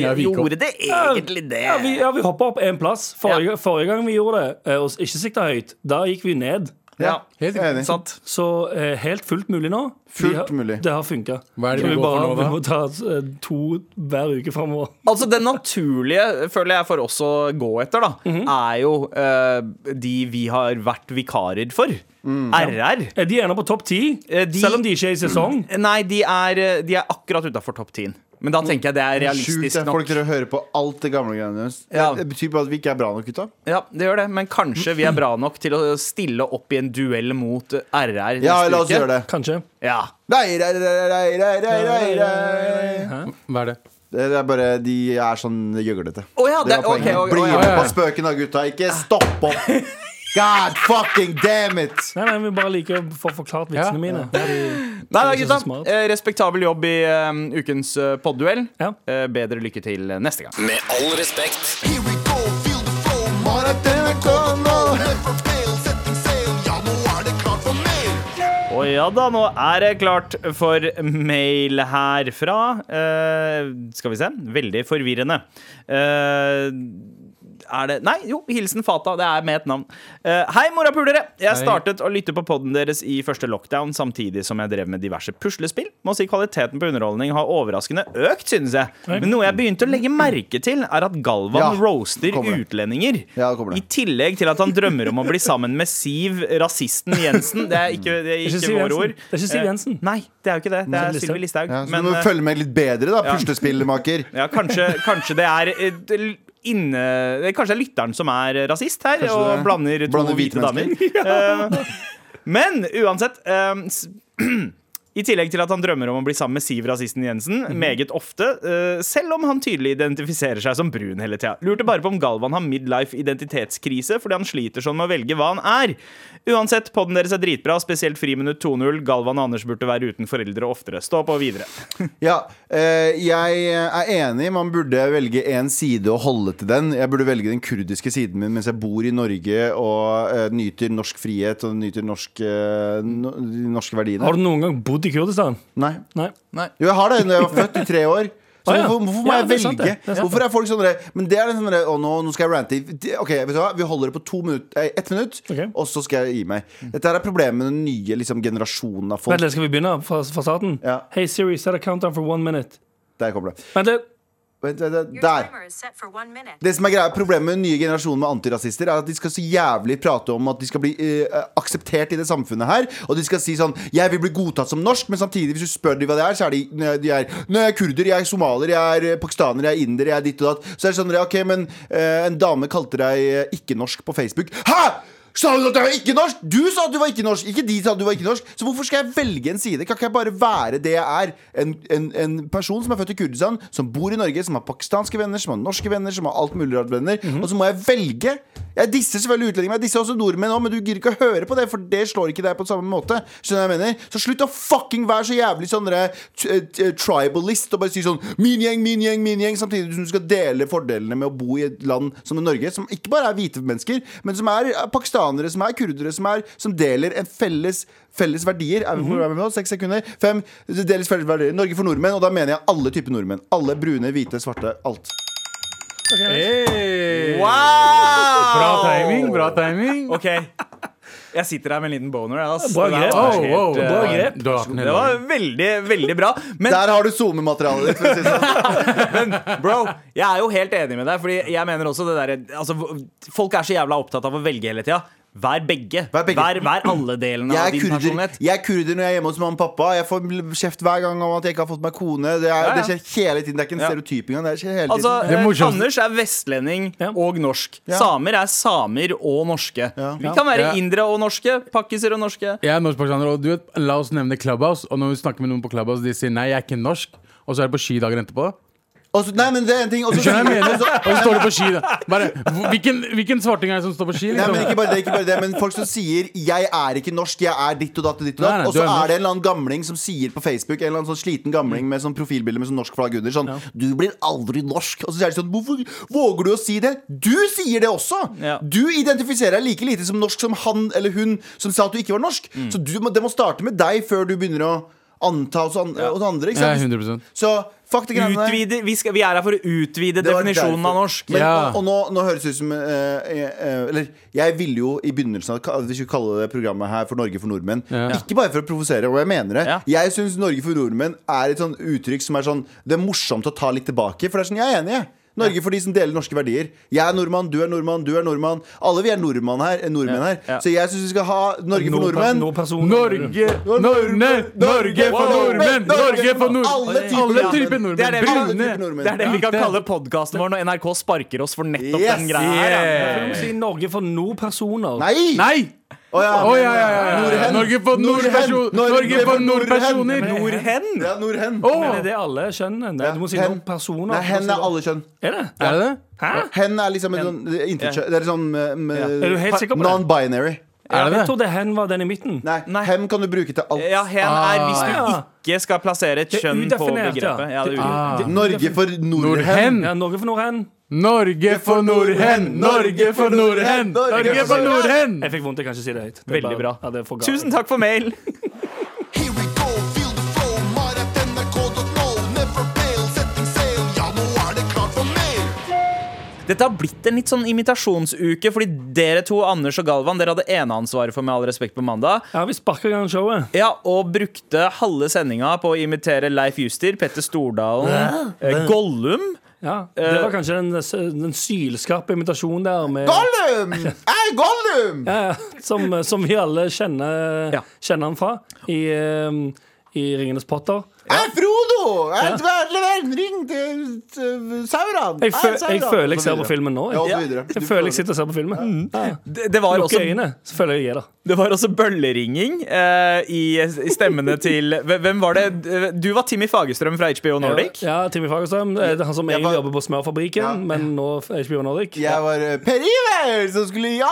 Speaker 3: Ja, vi gikk opp.
Speaker 2: gjorde det egentlig det?
Speaker 5: Ja, vi, ja, vi hoppa opp én plass. Forrige,
Speaker 2: Ja.
Speaker 5: forrige gang vi gjorde det, eh, og ikke sikta høyt, da gikk vi ned.
Speaker 2: Ja,
Speaker 3: Helt riktig.
Speaker 4: Enig.
Speaker 2: sant.
Speaker 5: Så eh, helt fullt mulig nå.
Speaker 4: Fullt
Speaker 5: Vi har-
Speaker 4: mulig.
Speaker 5: Det har funka.
Speaker 3: Hva er det vi går for nå,
Speaker 5: vi
Speaker 3: da?
Speaker 5: må ta eh, to hver uke framover.
Speaker 2: Altså Den naturlige, føler jeg, for oss å gå etter, da, er jo eh, de vi har vært vikarer for.
Speaker 4: Mm.
Speaker 2: RR.
Speaker 5: Er Eh, de ennå på topp ti?
Speaker 2: Eh, de-
Speaker 5: Selv om de ikke er i sesong?
Speaker 2: Nei, de er, eh, de er akkurat utafor topp 10. Men da tenker jeg det er
Speaker 4: Sjukt
Speaker 2: realistisk
Speaker 4: at folk
Speaker 2: nok.
Speaker 4: dere hører på alt det gamle greiene deres.
Speaker 2: Ja.
Speaker 4: Det betyr bare at vi ikke er bra nok, gutta.
Speaker 2: Ja, det gjør det Men kanskje vi er bra nok til å stille opp i en duell mot RR
Speaker 4: Ja,
Speaker 2: neste
Speaker 4: la oss
Speaker 2: uke.
Speaker 4: gjøre det.
Speaker 5: Kanskje.
Speaker 2: Ja.
Speaker 4: Nei, nei, nei, nei, nei, nei, nei, nei.
Speaker 5: Hæ?
Speaker 3: Hva er det?
Speaker 4: Det er bare de er sånn gjøglete.
Speaker 2: Å ja, det- ok, ok,
Speaker 4: Bli
Speaker 2: å ja.
Speaker 4: med på spøken da, gutta. Ikke stopp opp.
Speaker 2: [LAUGHS]
Speaker 4: God fucking damn it!
Speaker 5: Nei, nei, vi bare liker å få forklart
Speaker 3: Ja.
Speaker 5: vitsene mine. Fordi-
Speaker 2: Nei, nei,
Speaker 5: Det er ikke så
Speaker 2: gutta.
Speaker 5: smart.
Speaker 2: eh, Respektabel jobb i eh, ukens uh, podduell.
Speaker 5: Ja.
Speaker 2: Eh, bedre lykke til eh, neste gang.
Speaker 7: Med all respekt.
Speaker 8: Here we go, feel the flow. Maraton er kommet. Never fail, setting sail. Ja, nå er det klart for mer.
Speaker 2: Og ja da, nå er det klart for mail herfra. Eh, skal vi se. Veldig forvirrende. Eh, er det Nei, jo, hilsen Fata. Det er med et navn. Eh, hei, morapulere! Jeg startet å lytte på poden deres i første lockdown samtidig som jeg drev med diverse puslespill. Må si kvaliteten på underholdning har overraskende økt, synes jeg. Men noe jeg begynte å legge merke til, er at Galvan
Speaker 4: Ja,
Speaker 2: roaster
Speaker 4: kommer det.
Speaker 2: utlendinger.
Speaker 4: Ja, det kommer
Speaker 2: I
Speaker 4: det.
Speaker 2: tillegg til at han drømmer om å bli sammen med Siv, rasisten Jensen. Det er ikke, det er
Speaker 5: Ikke
Speaker 2: ikke,
Speaker 5: Siv
Speaker 2: våre
Speaker 5: Jensen.
Speaker 2: ord.
Speaker 5: Det er ikke Siv
Speaker 2: Eh,
Speaker 5: Jensen.
Speaker 2: Nei, det er jo ikke det. Det er
Speaker 5: Sylvi
Speaker 2: Sylvi Listhaug.
Speaker 4: Ja, så
Speaker 2: Men
Speaker 4: du må
Speaker 2: eh,
Speaker 4: følge med litt bedre, da,
Speaker 2: ja.
Speaker 4: puslespillmaker.
Speaker 2: ja, kanskje, kanskje det er eh, l- Inne, det er kanskje det er lytteren som er rasist her
Speaker 4: Kanskje
Speaker 2: og
Speaker 4: det er-
Speaker 2: blander to
Speaker 4: blander hvite
Speaker 2: hvite damer. Eh, Men uansett eh, s- [CLEARS THROAT] I tillegg til at han drømmer om å bli sammen med Siv rasisten Jensen meget ofte, eh, selv om han tydelig identifiserer seg som brun hele tida. Lurte bare på om Galvan har midlife identitetskrise fordi han sliter sånn med å velge hva han er. Uansett, podden deres er dritbra, spesielt Friminutt 2.0. Galvan og Anders burde være uten foreldre oftere. Stå på videre.
Speaker 4: Ja, eh, jeg er enig. Man burde velge én side og holde til den. Jeg burde velge den kurdiske siden min mens jeg bor i Norge og eh, nyter norsk frihet og nyter norsk, eh, no, de norske verdiene.
Speaker 5: Har du noen gang bodd i Kurdistan?
Speaker 4: Nei.
Speaker 5: Nei.
Speaker 4: Jo, jeg har det. Jeg var født i tre år. Så
Speaker 5: Å, ja.
Speaker 4: hvorfor, hvorfor må
Speaker 5: Ja,
Speaker 4: jeg
Speaker 5: det er sant,
Speaker 4: velge?
Speaker 5: det. Det er sant,
Speaker 4: hvorfor er folk sånn der- Men det er den sånn der, Å, nå, nå skal jeg rante. i- det- Ok, vet du hva? Vi holder det på to minutt, eh, ett minutt,
Speaker 5: Ok.
Speaker 4: og så skal jeg gi meg. Dette her er problemet med den nye liksom, generasjonen av folk.
Speaker 5: Vent litt, skal vi begynne fra, fra starten?
Speaker 4: Ja.
Speaker 5: Hey Siri, set a countdown for one minute.
Speaker 4: Der kommer det.
Speaker 5: Vent litt.
Speaker 4: Vent, vent, vent.
Speaker 7: Your
Speaker 4: Der.
Speaker 7: timer is set for one minute.
Speaker 4: Det som er greia, Problemet med den nye generasjonen med antirasister er at de skal så jævlig prate om at de skal bli eh, akseptert i det samfunnet her. Og de skal si sånn 'Jeg vil bli godtatt som norsk', men samtidig, hvis du spør de hva det er, så er de, nei, de er, 'Nei, jeg er kurder, jeg er somalier, jeg er eh, pakistaner, jeg er inder, jeg er ditt og datt'. Så er det sånn ja, 'OK, men eh, en dame kalte deg eh, ikke-norsk på Facebook'. Hæ?! Sa hun at jeg var ikke norsk? Du sa at du var ikke norsk! Ikke de sa at du var ikke norsk. Så hvorfor skal jeg velge en side? Kan ikke jeg bare være det jeg er? En, en, en person som er født i Kurdistan, som bor i Norge, som har pakistanske venner, som har norske venner, som har alt mulig rart venner. Og så må jeg velge. Jeg disser selvfølgelig utlendinger, men jeg disser også nordmenn òg, men du gidder ikke å høre på det, for det slår ikke deg på samme måte. Skjønner du hva jeg mener? Så slutt å fucking være så jævlig sånn dere, t- eh, t- eh, tribalist og bare si sånn min gjeng, min gjeng, min gjeng, samtidig som du skal dele fordelene med å bo i et land som Norge, som ikke bare er hvite mennesker, men som er eh, pakistanere, som er kurdere, som, er, som deler en felles Felles verdier. Er vi på programmet nå? Seks sekunder. Fem. Det Deles felles verdier. Norge for nordmenn. Og da mener jeg alle typer nordmenn. Alle brune, hvite, svarte. Alt.
Speaker 3: Hey.
Speaker 2: Wow!
Speaker 3: Bra timing, bra timing.
Speaker 2: OK. Jeg sitter her med en liten boner. jeg, ass.
Speaker 5: Bra
Speaker 2: Det der
Speaker 5: grep.
Speaker 2: var
Speaker 5: Oh,
Speaker 2: helt,
Speaker 5: wow,
Speaker 2: eh,
Speaker 5: bra grep.
Speaker 3: Du har hatt den
Speaker 2: Det
Speaker 3: hele dagen.
Speaker 2: var veldig, veldig bra. Men
Speaker 4: Der har du SoMe-materialet ditt. for å si det sånn.
Speaker 2: Bro, jeg er jo helt enig med deg, Fordi jeg mener også det der altså, Folk er så jævla opptatt av å velge hele tida. Vær begge.
Speaker 4: Vær begge.
Speaker 2: Vær, vær alle delene
Speaker 4: Jeg
Speaker 2: av
Speaker 4: er,
Speaker 2: din
Speaker 4: kurder,
Speaker 2: personlighet.
Speaker 4: jeg er kurder når jeg er hjemme hos mamma og pappa. Jeg får kjeft hver gang om at jeg ikke har fått meg kone. Det, er,
Speaker 2: ja.
Speaker 4: det skjer hele tiden. Det er ikke en
Speaker 2: Ja.
Speaker 4: stereotyp engang. Det skjer hele
Speaker 2: Altså,
Speaker 4: tiden.
Speaker 3: Det er
Speaker 2: eh,
Speaker 3: morsomt.
Speaker 2: Anders er vestlending
Speaker 5: Ja.
Speaker 2: og norsk.
Speaker 4: Ja.
Speaker 2: Samer er samer og norske.
Speaker 4: Ja.
Speaker 2: Vi kan være
Speaker 3: Ja.
Speaker 2: indre og norske. Pakkiser og norske.
Speaker 3: Jeg er norskpakistaner, og du vet, la oss nevne Clubhouse. Og når vi snakker med noen på Clubhouse, de sier nei, jeg er ikke norsk. Og så er det på ski dagen etterpå.
Speaker 4: Også, nei, men det er en ting
Speaker 3: Du
Speaker 4: også,
Speaker 3: skjønner hva jeg mener? Og så står de på ski. Da. Bare, hvor- hvilken, hvilken svarting er det som står på ski?
Speaker 4: Nei, men ikke
Speaker 3: Liksom?
Speaker 4: bare det, ikke bare det Men folk som sier 'jeg er ikke norsk', 'jeg er ditt og datt' og ditt og
Speaker 3: Nei,
Speaker 4: datt.
Speaker 3: nei,
Speaker 4: Og
Speaker 3: du
Speaker 4: så
Speaker 3: er norsk. Mm.
Speaker 4: er det en eller annen gamling som sier på Facebook, en eller annen sånn sliten gamling med sånn profilbilde med sånn norsk flagg under, sånn 'du blir aldri norsk'. Og så sier de sånn 'hvorfor våger du å si det?' Du sier det også!
Speaker 2: Ja.
Speaker 4: Du identifiserer deg like lite som norsk som han eller hun som sa at du ikke var norsk.
Speaker 3: Mm.
Speaker 4: Så du, må- det må starte med deg før du begynner å anta hos an- hos andre. Ikke
Speaker 3: Ja,
Speaker 4: sant?
Speaker 3: 100
Speaker 4: Så fuck de greiene der.
Speaker 2: Utvide, vi, skal, vi er her for å utvide
Speaker 4: Det var
Speaker 2: definisjonen
Speaker 4: derfor.
Speaker 2: av norsk.
Speaker 4: Men,
Speaker 3: Ja.
Speaker 4: Og, og nå, nå høres det ut som eh, eh, Eller jeg ville jo i begynnelsen av ka- Vi skulle kalle det programmet her for Norge for nordmenn.
Speaker 3: Ja.
Speaker 4: Ikke bare for å provosere, og jeg mener det.
Speaker 2: Ja.
Speaker 4: Jeg syns Norge for nordmenn er et sånn uttrykk som er sånn Det er morsomt å ta litt tilbake, for det er sånn jeg er enig, jeg. Norge for de som deler norske verdier. Jeg er nordmann, du er nordmann, du er nordmann. Alle vi er nordmann her, eh, nordmenn her.
Speaker 2: Ja.
Speaker 4: Så jeg syns vi skal ha Norge for nordmenn.
Speaker 3: Norge, Norge, Norge for nordmenn! Norge for
Speaker 4: Alle
Speaker 3: nordmenn!
Speaker 4: typer
Speaker 3: Alle typer
Speaker 4: nordmenn.
Speaker 2: Det er
Speaker 3: nordmenn.
Speaker 2: det vi kan-
Speaker 4: Brune.
Speaker 3: Brune.
Speaker 4: nordmenn.
Speaker 2: Det er det vi kan
Speaker 3: Ja.
Speaker 2: kalle podkasten vår når NRK sparker oss for nettopp
Speaker 4: Yes.
Speaker 2: den greia. her, ja.
Speaker 3: Yeah.
Speaker 5: Kan du si Norge for no personer?
Speaker 4: Nei!
Speaker 3: Nei!
Speaker 4: Å ja.
Speaker 3: Å ja, ja, ja, ja.
Speaker 4: Nordhen.
Speaker 3: Norge for
Speaker 4: Nordhen.
Speaker 3: nordperson- Norge for nordpersoner!
Speaker 2: Nordhen!
Speaker 4: Ja, Nordhen.
Speaker 3: Å!
Speaker 5: Men er det alle kjønnene? Nei, du må si
Speaker 4: Hen.
Speaker 5: no personer.
Speaker 4: Nei, hen er alle kjønn.
Speaker 5: Er det?
Speaker 3: Er det det?
Speaker 5: Hæ?
Speaker 4: Hen er liksom en sånn det er intet kjønn. Det er sånn um,
Speaker 5: Er du helt sikker på det?
Speaker 4: non-binary.
Speaker 3: Er
Speaker 5: Jeg
Speaker 3: det det?
Speaker 5: trodde hen var den i midten.
Speaker 4: Nei,
Speaker 2: Nei.
Speaker 4: hem kan du bruke til alt.
Speaker 2: Ja, hen er hvis du
Speaker 5: Ah.
Speaker 2: ikke skal plassere et
Speaker 5: Det er
Speaker 2: kjønn på
Speaker 5: udefinert, ja.
Speaker 2: begrepet. Ja, det er udefinert.
Speaker 3: Ah.
Speaker 4: Norge for nordhen.
Speaker 3: Nordhen!
Speaker 5: Ja, Norge for nordhen.
Speaker 3: Norge for nordhen! Norge for nordhen! Norge for nordhen!
Speaker 5: Jeg fikk vondt, jeg kan ikke si det høyt. Det er
Speaker 2: Mm. Veldig bra.
Speaker 5: bare- Ja, det er for galt.
Speaker 2: Tusen takk for mail.
Speaker 8: Here we go, feel the flow, maratnrk.no. Never fail, setting sail, ja, nå er det klart for mer.
Speaker 2: Dette har blitt en litt sånn imitasjonsuke, fordi dere to, Anders og Galvan, dere hadde eneansvaret for Med all respekt på mandag.
Speaker 5: Ja, vi sparker i gang showet.
Speaker 2: Ja, Og brukte halve sendinga på å imitere Leif Juster, Petter Stordalen, eh, Gollum.
Speaker 5: Ja,
Speaker 2: Eh,
Speaker 5: det var kanskje den, den sylskarpe imitasjonen der med,
Speaker 4: Gollum! Ei, Gollum!
Speaker 5: ja, som, som vi alle kjenner,
Speaker 2: Ja.
Speaker 5: kjenner han fra i, ehm, i Ringenes Potter.
Speaker 4: Ei, Frodo! Ei, Lever en ring til til Sauron!
Speaker 5: Jeg,
Speaker 4: Ei,
Speaker 5: fø jeg
Speaker 4: Sauron!
Speaker 5: føler jeg
Speaker 4: Og så
Speaker 5: ser på
Speaker 4: videre.
Speaker 5: filmen nå.
Speaker 4: Ja, og
Speaker 5: Jeg,
Speaker 4: så videre. Du Mm.
Speaker 5: jeg føler jeg sitter og ser på filmen. Ja.
Speaker 2: Det, det var
Speaker 5: Lukker
Speaker 2: også
Speaker 5: øynene, så føler jeg jeg er der.
Speaker 2: Det var også bølleringing eh, i, i stemmene til Hvem hvem var det? Du var Timmy Fagerstrøm fra HBO Nordic.
Speaker 5: Ja, Timmy Fagerstrøm. Det er han som egentlig
Speaker 4: var-
Speaker 5: jobber på Smørfabrikken,
Speaker 4: Ja.
Speaker 5: men nå er HBO Nordic.
Speaker 4: Jeg var eh, Per Iver som skulle gi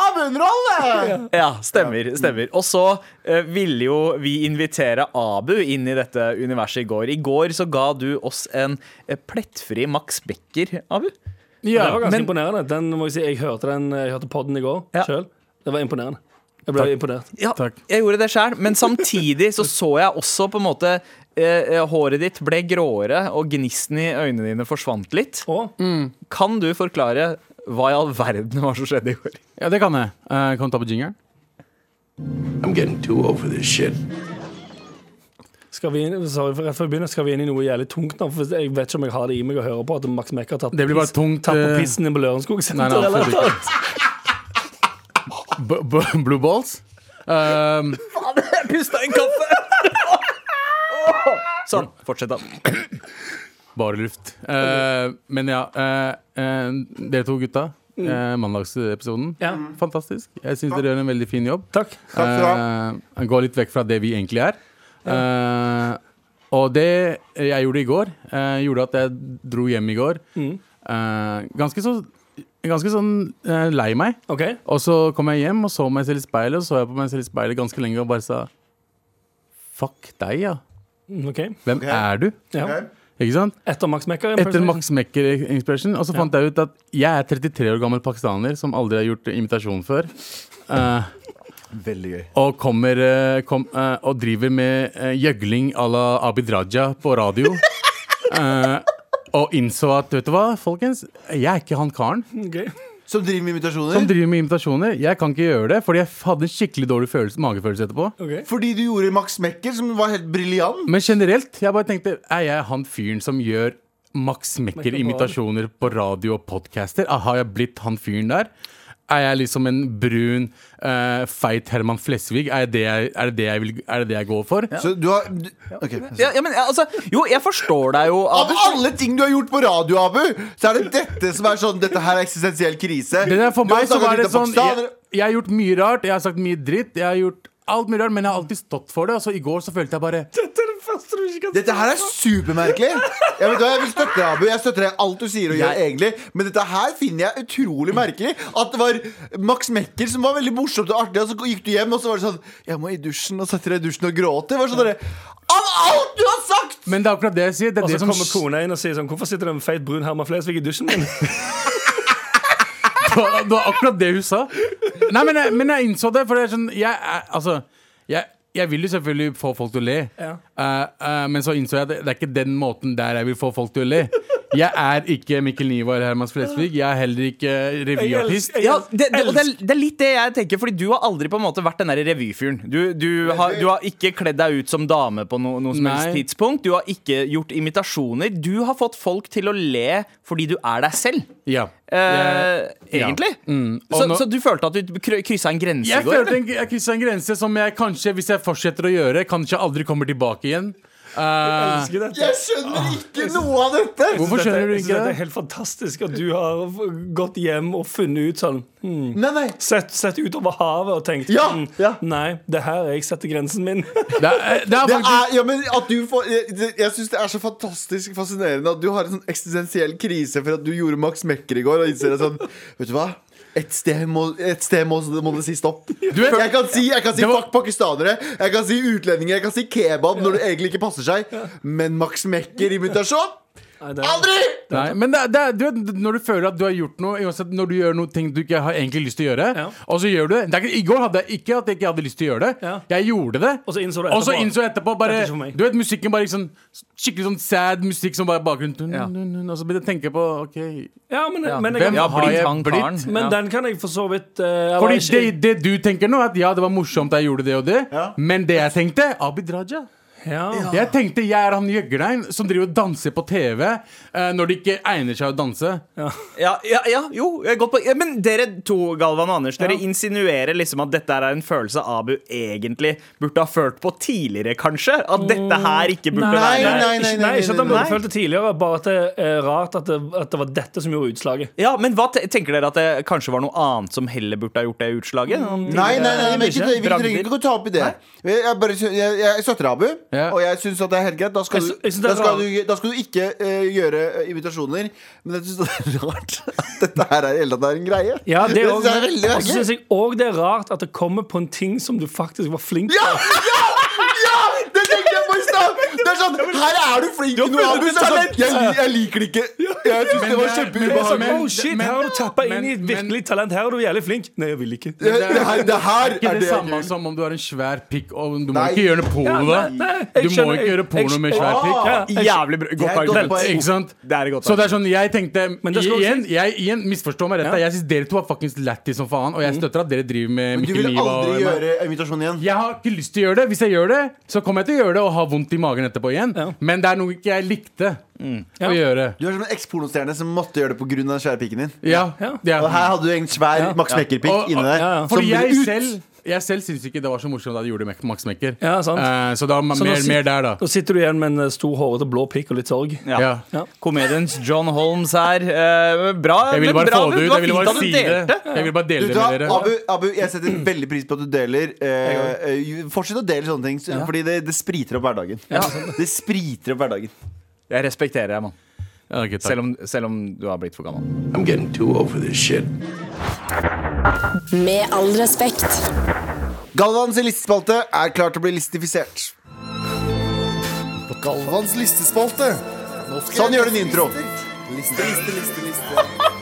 Speaker 4: Abund-rolle!
Speaker 2: Ja, stemmer. stemmer Og så eh, ville jo vi invitere Abu inn i dette universet i går. I går så ga du oss en eh, plettfri Max Becker, Abu.
Speaker 5: det var
Speaker 3: Ja,
Speaker 5: ganske
Speaker 3: men
Speaker 5: imponerende. Den, må jeg, si, jeg hørte den Jeg hørte podden i går
Speaker 2: Ja.
Speaker 5: selv sjøl. Det var imponerende. Jeg ble imponert.
Speaker 2: Ja,
Speaker 3: Takk.
Speaker 2: jeg gjorde det sjøl, men samtidig så så jeg også på en måte eh, eh, Håret ditt ble gråere, og gnisten i øynene dine forsvant litt.
Speaker 5: Og
Speaker 2: Kan du forklare hva i all verden var som skjedde i går?
Speaker 3: Ja, det kan jeg. Eh, kan du ta på jingeren?
Speaker 5: skal vi inn, sorry, for rett før vi begynner, skal vi inn i noe jævlig tungt nå? For hvis- jeg vet ikke om jeg har det i meg å høre på at Max Mekker har tatt,
Speaker 3: Det blir bare
Speaker 5: piss-
Speaker 3: tungt,
Speaker 5: tatt på
Speaker 3: eh,
Speaker 5: pissen inn på Lørenskog
Speaker 3: Nei,
Speaker 5: senter.
Speaker 3: nei,
Speaker 5: eller
Speaker 3: absolutt
Speaker 5: noe.
Speaker 3: ikke. B b blue balls? Um,
Speaker 2: Pusta en kaffe! Sånn. Fortsett, da.
Speaker 3: bare luft. Eh, men ja, eh, eh, dere to gutta.
Speaker 4: Mm.
Speaker 3: eh, mandagsepisoden.
Speaker 5: Ja.
Speaker 3: Fantastisk. Jeg syns dere gjør en veldig fin jobb.
Speaker 5: [LAUGHS] Takk.
Speaker 4: Takk skal du ha.
Speaker 3: Eh, gå litt vekk fra det vi egentlig er. Eh, og det jeg gjorde i går, eh, gjorde at jeg dro hjem i går
Speaker 4: Mm.
Speaker 3: eh, ganske, så, ganske sånn eh, lei meg.
Speaker 5: OK.
Speaker 3: Og så kom jeg hjem og så meg selv i speilet, og så jeg på meg selv i speilet ganske lenge og bare sa Fuck deg, ja.
Speaker 5: mm, ok.
Speaker 3: Hvem
Speaker 4: Ok.
Speaker 3: er du?
Speaker 5: Ja.
Speaker 4: Ok.
Speaker 3: Ikke sant?
Speaker 5: Etter Max Mekker?
Speaker 3: Etter Max Mekker-inspiration. Og så fant jeg ut at jeg er 33 år gammel pakistaner som aldri har gjort imitasjon før. eh,
Speaker 4: Veldig gøy.
Speaker 3: og kommer eh, kom, eh, og driver med eh, gjøgling à la Abid Raja på [LAUGHS] radio. Eh, og innså at vet du hva, folkens, jeg er ikke han karen.
Speaker 5: Ok.
Speaker 4: Som driver med
Speaker 3: som
Speaker 4: invitasjoner?
Speaker 3: driver med invitasjoner. Jeg kan ikke gjøre det, fordi jeg hadde en skikkelig dårlig følelse, magefølelse etterpå.
Speaker 5: Ok.
Speaker 4: Fordi du gjorde Max Mekker, som var helt briljant.
Speaker 3: Men generelt, jeg bare tenkte, er jeg han fyren som gjør Max Mekker-imitasjoner på radio og podcaster? Ah, Har jeg blitt han fyren der? Er jeg liksom en brun, eh, feit Herman Flesvig? Er, det jeg, er, det det jeg vil, er det det jeg går for?
Speaker 4: Så du har du, Ok.
Speaker 2: Ja, ja, men, ja, altså, jo, jeg forstår deg jo.
Speaker 4: Av
Speaker 2: Abu.
Speaker 4: alle ting du har gjort på radio, Abu, så er det dette som er sånn Dette her er eksistensiell krise.
Speaker 3: Det der, for
Speaker 4: Du har
Speaker 3: meg så
Speaker 4: snakket
Speaker 3: var det
Speaker 4: litt om
Speaker 3: sånn jeg,
Speaker 4: pakistanere.
Speaker 3: jeg har gjort mye rart, jeg har sagt mye dritt, jeg har gjort alt mye rart, men jeg har alltid stått for det. Og så i går så følte jeg bare
Speaker 4: Dette her er supermerkelig. Jeg, vet hva, jeg vil støtte deg, Abu. Jeg støtter deg i alt du sier og gjør, egentlig. Men dette her finner jeg utrolig merkelig. At det var Max Mekker som var veldig morsomt og artig, og så gikk du hjem, og så var det sånn Jeg må i dusjen, og setter deg i dusjen og gråter. Det Var sånn der, Av alt du har sagt!
Speaker 3: Men det er akkurat det jeg sier. Det er
Speaker 5: Og
Speaker 3: det
Speaker 5: så
Speaker 3: som
Speaker 5: kommer kona inn og sier sånn Hvorfor sitter det en feit brun Herman Flesvig i dusjen
Speaker 3: [LAUGHS]
Speaker 5: min?
Speaker 3: Det var, det var akkurat det hun sa. Nei, men jeg, men jeg innså det. For det er sånn Jeg, er- altså, jeg, jeg vil jo selvfølgelig få folk til å le,
Speaker 5: Ja.
Speaker 3: Eh, eh, men så innså jeg at det, det er ikke den måten der jeg vil få folk til å le. Jeg er ikke Mikkel Niva eller Herman Flesvig. Jeg er heller ikke revyartist.
Speaker 5: elsker-
Speaker 2: Ja, det, det, og det, er- det er litt det jeg tenker, Fordi du har aldri på en måte vært den der revyfyren. Du, du, har, du har ikke kledd deg ut som dame på no, noe som helst
Speaker 3: Nei.
Speaker 2: tidspunkt. Du har ikke gjort imitasjoner. Du har fått folk til å le fordi du er deg selv.
Speaker 3: Ja.
Speaker 2: Eh,
Speaker 3: ja.
Speaker 2: Egentlig.
Speaker 3: Mm. Og
Speaker 2: Så,
Speaker 3: nå-
Speaker 2: så du følte at du krø- kryssa en grense i
Speaker 3: Jeg
Speaker 2: går?
Speaker 3: følte
Speaker 2: eller?
Speaker 3: en, jeg krysset en grense som jeg kanskje, hvis jeg fortsetter å gjøre, kanskje aldri kommer tilbake igjen. Eh,
Speaker 5: Elsker dette.
Speaker 4: Jeg
Speaker 3: Ah,
Speaker 4: skjønner ikke noe av dette!
Speaker 3: hvorfor skjønner du
Speaker 5: Jeg synes
Speaker 3: ikke
Speaker 5: dette er
Speaker 3: det?
Speaker 5: helt fantastisk at du har f- gått hjem og funnet ut sånn hmm,
Speaker 4: Nei, nei.
Speaker 5: sett, sett ut over havet og tenkt
Speaker 4: Ja,
Speaker 5: hmm,
Speaker 4: ja.
Speaker 5: Nei, det her er jeg setter grensen min. [LAUGHS]
Speaker 3: Det er, det er
Speaker 4: Det
Speaker 3: faktisk
Speaker 4: er, ja, men at du får, jeg det- jeg syns det er så fantastisk fascinerende at du har en sånn eksistensiell krise for at du gjorde Max Mekker i går og innser det sånn Vet du hva? Et sted må, et sted må, må det si stopp.
Speaker 3: vet-
Speaker 4: jeg kan si, jeg kan si
Speaker 3: Det var-
Speaker 4: fuck pakistanere, jeg kan si utlendinger, jeg kan si kebab når det egentlig ikke passer seg. Men Max Mekker-invitasjon?
Speaker 5: Nei, det er-
Speaker 4: Aldri!
Speaker 3: Nei, men det, er- det, er- du vet, når du føler at du har gjort noe uansett Når du gjør noe ting du ikke har egentlig lyst til å gjøre
Speaker 5: Ja.
Speaker 3: Og så gjør du det, det er ikke, I går hadde jeg ikke at jeg ikke hadde lyst til å gjøre det
Speaker 5: Ja.
Speaker 3: Jeg gjorde det
Speaker 5: Og så innså du
Speaker 3: Og så
Speaker 5: etterpå.
Speaker 3: innså jeg etterpå bare,
Speaker 5: Dette er ikke for meg.
Speaker 3: Du vet musikken bare gikk sånn Skikkelig sånn sad musikk som bare bakgrunnen
Speaker 2: Ja.
Speaker 3: Og så begynte jeg å tenke på Ok,
Speaker 5: Ja, men,
Speaker 2: Ja.
Speaker 5: men, jeg,
Speaker 3: Hvem
Speaker 5: kan-
Speaker 2: Ja,
Speaker 3: har
Speaker 2: blitt
Speaker 3: jeg
Speaker 2: han
Speaker 3: blitt?
Speaker 2: karen?
Speaker 5: men
Speaker 2: Ja.
Speaker 5: den kan jeg for så vidt eh,
Speaker 3: fordi det,
Speaker 5: eller ikke-
Speaker 3: det du tenker nå er At ja, det var morsomt jeg gjorde det og det Men det jeg tenkte, Abid Raja
Speaker 5: ja.
Speaker 3: Jeg tenkte jeg er han Jøggerheim Som driver og danser på TV eh, Når det ikke egner seg å danse
Speaker 2: Ja, ja, ja, jo, jeg er godt på ja, Men dere to, Galvan og Anders, dere insinuerer liksom at dette her er en følelse Abu egentlig burde ha følt på tidligere, kanskje? At dette her ikke burde
Speaker 4: Mm. Nei,
Speaker 2: være
Speaker 4: nei, nei,
Speaker 5: Ikke- nei, ikke at han
Speaker 4: nei,
Speaker 5: burde
Speaker 4: nei.
Speaker 5: følt det tidligere, bare at det er rart at det, at det var dette som gjorde utslaget.
Speaker 2: Ja, men hva te tenker dere at det kanskje var noe annet som heller burde ha gjort det utslaget? Noen
Speaker 4: Mm. Nei, nei, nei, men ikke,
Speaker 2: tidligere
Speaker 4: vi trenger
Speaker 2: bragder?
Speaker 4: ikke å ta opp i det. Jeg, jeg, bare, sy- jeg, jeg støtter Abu,
Speaker 3: Ja.
Speaker 4: og jeg syns det er helt greit. Da skal,
Speaker 5: Jeg
Speaker 4: du,
Speaker 5: sy- jeg synes det
Speaker 4: da
Speaker 5: er
Speaker 4: skal,
Speaker 5: rart.
Speaker 4: du, da skal du ikke eh, gjøre eh, invitasjoner. Men jeg syns det er [LAUGHS] rart at dette her er, i hele tatt er en greie.
Speaker 5: Ja, det er
Speaker 4: synes
Speaker 5: også,
Speaker 4: jeg er veldig
Speaker 5: og så
Speaker 4: merkelig.
Speaker 5: syns jeg òg det er rart at det kommer på en ting som du faktisk var flink
Speaker 4: Ja! Ja! Det tenkte Ah, jeg på i stad! Det er sånn, sånn Her er du flink til noe annet! Så er det Sånn, jeg, jeg liker det ikke. Jeg synes det var
Speaker 5: Det er sånn,
Speaker 4: kjempeubehagelig.
Speaker 5: oh shit,
Speaker 3: men-
Speaker 5: Her har du tappa inn i et
Speaker 3: men-
Speaker 5: virkelig talent. Her er du jævlig flink. Nei, jeg vil ikke.
Speaker 4: Det, det, her, det her
Speaker 3: Ikke
Speaker 4: er
Speaker 3: det
Speaker 4: det jeg
Speaker 3: samme
Speaker 4: vil.
Speaker 3: som om du har en svær pikk og du må
Speaker 4: Nei.
Speaker 3: ikke gjøre noe porno da.
Speaker 5: nei, nei, jeg
Speaker 3: Du må
Speaker 5: skjønner-
Speaker 3: ikke gjøre
Speaker 5: jeg-
Speaker 3: porno
Speaker 5: jeg-
Speaker 3: med svær pikk.
Speaker 5: Ah,
Speaker 2: Jævlig bra.
Speaker 4: Det er
Speaker 2: godt
Speaker 4: et godt
Speaker 2: argument.
Speaker 4: poeng.
Speaker 3: Ikke sant?
Speaker 2: Det er et godt
Speaker 3: Så det er sånn, jeg tenkte
Speaker 5: det skal du
Speaker 3: igjen, jeg, igjen, Misforstå meg rett, da. jeg syns dere to er fuckings lættis som faen, og jeg støtter at dere driver med
Speaker 4: Du vil
Speaker 3: Mikkel Liva.
Speaker 4: aldri
Speaker 3: og-
Speaker 4: gjøre imitasjon igjen.
Speaker 3: Jeg har ikke lyst til å gjøre det. Hvis jeg gjør det, så kommer jeg til å gjøre det og ha vondt i magen etterpå igjen.
Speaker 5: Ja.
Speaker 3: Men det er noe ikke jeg likte å gjøre.
Speaker 4: Du er som en ekspornostjerne som måtte gjøre det pga. den svære pikken din.
Speaker 3: Ja, ja.
Speaker 5: Ja.
Speaker 4: Og her hadde du en svær Max
Speaker 3: Og-
Speaker 4: Mekker-pikk inni deg.
Speaker 5: ja, ja.
Speaker 4: som
Speaker 3: Fordi
Speaker 4: ville
Speaker 3: jeg
Speaker 4: ut.
Speaker 3: selv jeg selv syns ikke det var så morsomt da de gjorde det med Max Mekker.
Speaker 5: Ja, sant.
Speaker 3: Eh, så da mer,
Speaker 5: Så nå sit-
Speaker 3: mer der, da.
Speaker 5: Nå sitter du igjen med en eh, stor, hårete blå pikk og litt sorg.
Speaker 2: Ja.
Speaker 3: Ja.
Speaker 2: Komediens John Holmes her. Eh, bra.
Speaker 3: Jeg ville
Speaker 2: men
Speaker 3: bare
Speaker 2: bra,
Speaker 3: få det ut.
Speaker 2: var
Speaker 3: Jeg ville
Speaker 2: fint
Speaker 3: bare
Speaker 2: at du
Speaker 3: si det.
Speaker 2: delte.
Speaker 3: Jeg ville bare dele
Speaker 4: Vet
Speaker 3: det
Speaker 4: du hva,
Speaker 3: med dere.
Speaker 4: Abu, Abu, jeg setter veldig pris på at du deler. Eh, eh, fortsett å dele sånne ting, så- fordi det, det spriter opp hverdagen. Det spriter opp hverdagen.
Speaker 2: Jeg respekterer deg, mann.
Speaker 3: Ja, ok, takk.
Speaker 2: Selv, om- selv om du har blitt for gammel.
Speaker 6: Med all respekt.
Speaker 4: Galvans listespalte er klar til å bli listifisert.
Speaker 7: Galvans listespalte. Nå skal
Speaker 4: Sånn
Speaker 7: jeg-
Speaker 4: gjør du en intro.
Speaker 7: Liste, liste, liste, liste.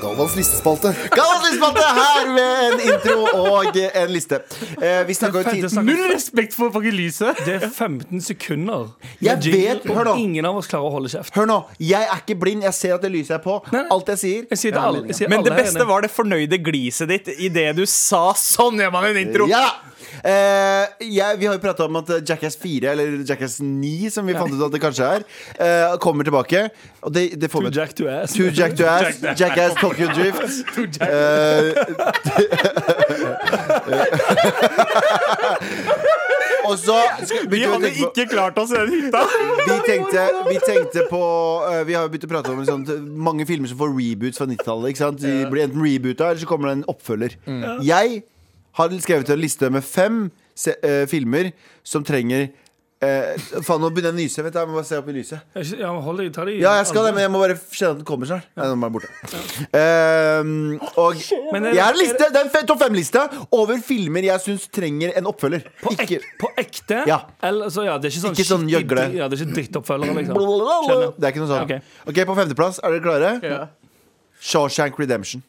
Speaker 7: Galvans listespalte.
Speaker 4: Galvans listespalte er her med en intro og eh, en liste. Eh, vi snakka jo tid...
Speaker 3: Null respekt for fucking lyset!
Speaker 5: Det er 15 sekunder.
Speaker 4: Jeg vet- hør nå.
Speaker 5: Og ingen av oss klarer å holde kjeft.
Speaker 4: Hør nå, jeg er ikke blind. Jeg ser at det lyset er på. Alt jeg sier,
Speaker 5: Jeg sier til alle, jeg sier
Speaker 2: Men
Speaker 5: alle
Speaker 2: det
Speaker 5: her
Speaker 2: beste
Speaker 5: inne.
Speaker 2: var det fornøyde gliset ditt idet du sa 'sånn gjør man en intro'.
Speaker 4: Ja! Eh, jeg, vi har jo prata om at eh, Jackass 4, eller Jackass 9, som vi fant ut at det kanskje er, eh, kommer tilbake. Og det, det får
Speaker 5: Too
Speaker 4: vi
Speaker 5: Jack to ass.
Speaker 4: Too Jack to Ass, Jackass Tokyo Drift. Eh, [LAUGHS] Og så skal-
Speaker 2: Vi
Speaker 4: begynte
Speaker 2: hadde
Speaker 4: vi å tenke på-
Speaker 2: ikke klart oss i den [LAUGHS] hytta.
Speaker 4: vi tenkte, vi tenkte på eh, Vi har jo begynt å prate om liksom, t- mange filmer som får reboots fra 90-tallet. ikke sant? De blir enten reboota, eller så kommer det en oppfølger.
Speaker 5: Mm.
Speaker 4: Jeg har skrevet en liste med fem se eh, filmer som trenger eh, Faen, nå begynner jeg å nyse. Vent, da, jeg må bare se opp i lyset.
Speaker 5: Ja, men hold deg, ta deg i
Speaker 4: Ja, jeg skal det, men jeg må bare kjenne at den kommer snart. Nei, nå er den borte. Ehm, og
Speaker 5: Men er det-
Speaker 4: jeg har en liste, det er en fe- topp fem-liste over filmer jeg syns trenger en oppfølger.
Speaker 5: På, ek,
Speaker 4: Ikke
Speaker 5: på ekte?
Speaker 4: Ja.
Speaker 5: Eller, så, ja, det er ikke sånn,
Speaker 4: Ikke sånn
Speaker 5: skikkelig-
Speaker 4: gjøgle.
Speaker 5: Ja, det er ikke
Speaker 4: [LAUGHS]
Speaker 5: drittoppfølgere, liksom. Skjønner.
Speaker 4: Det er ikke noe sånt.
Speaker 5: Ok.
Speaker 4: ok, På femteplass, er dere klare? Shawshank Redemption.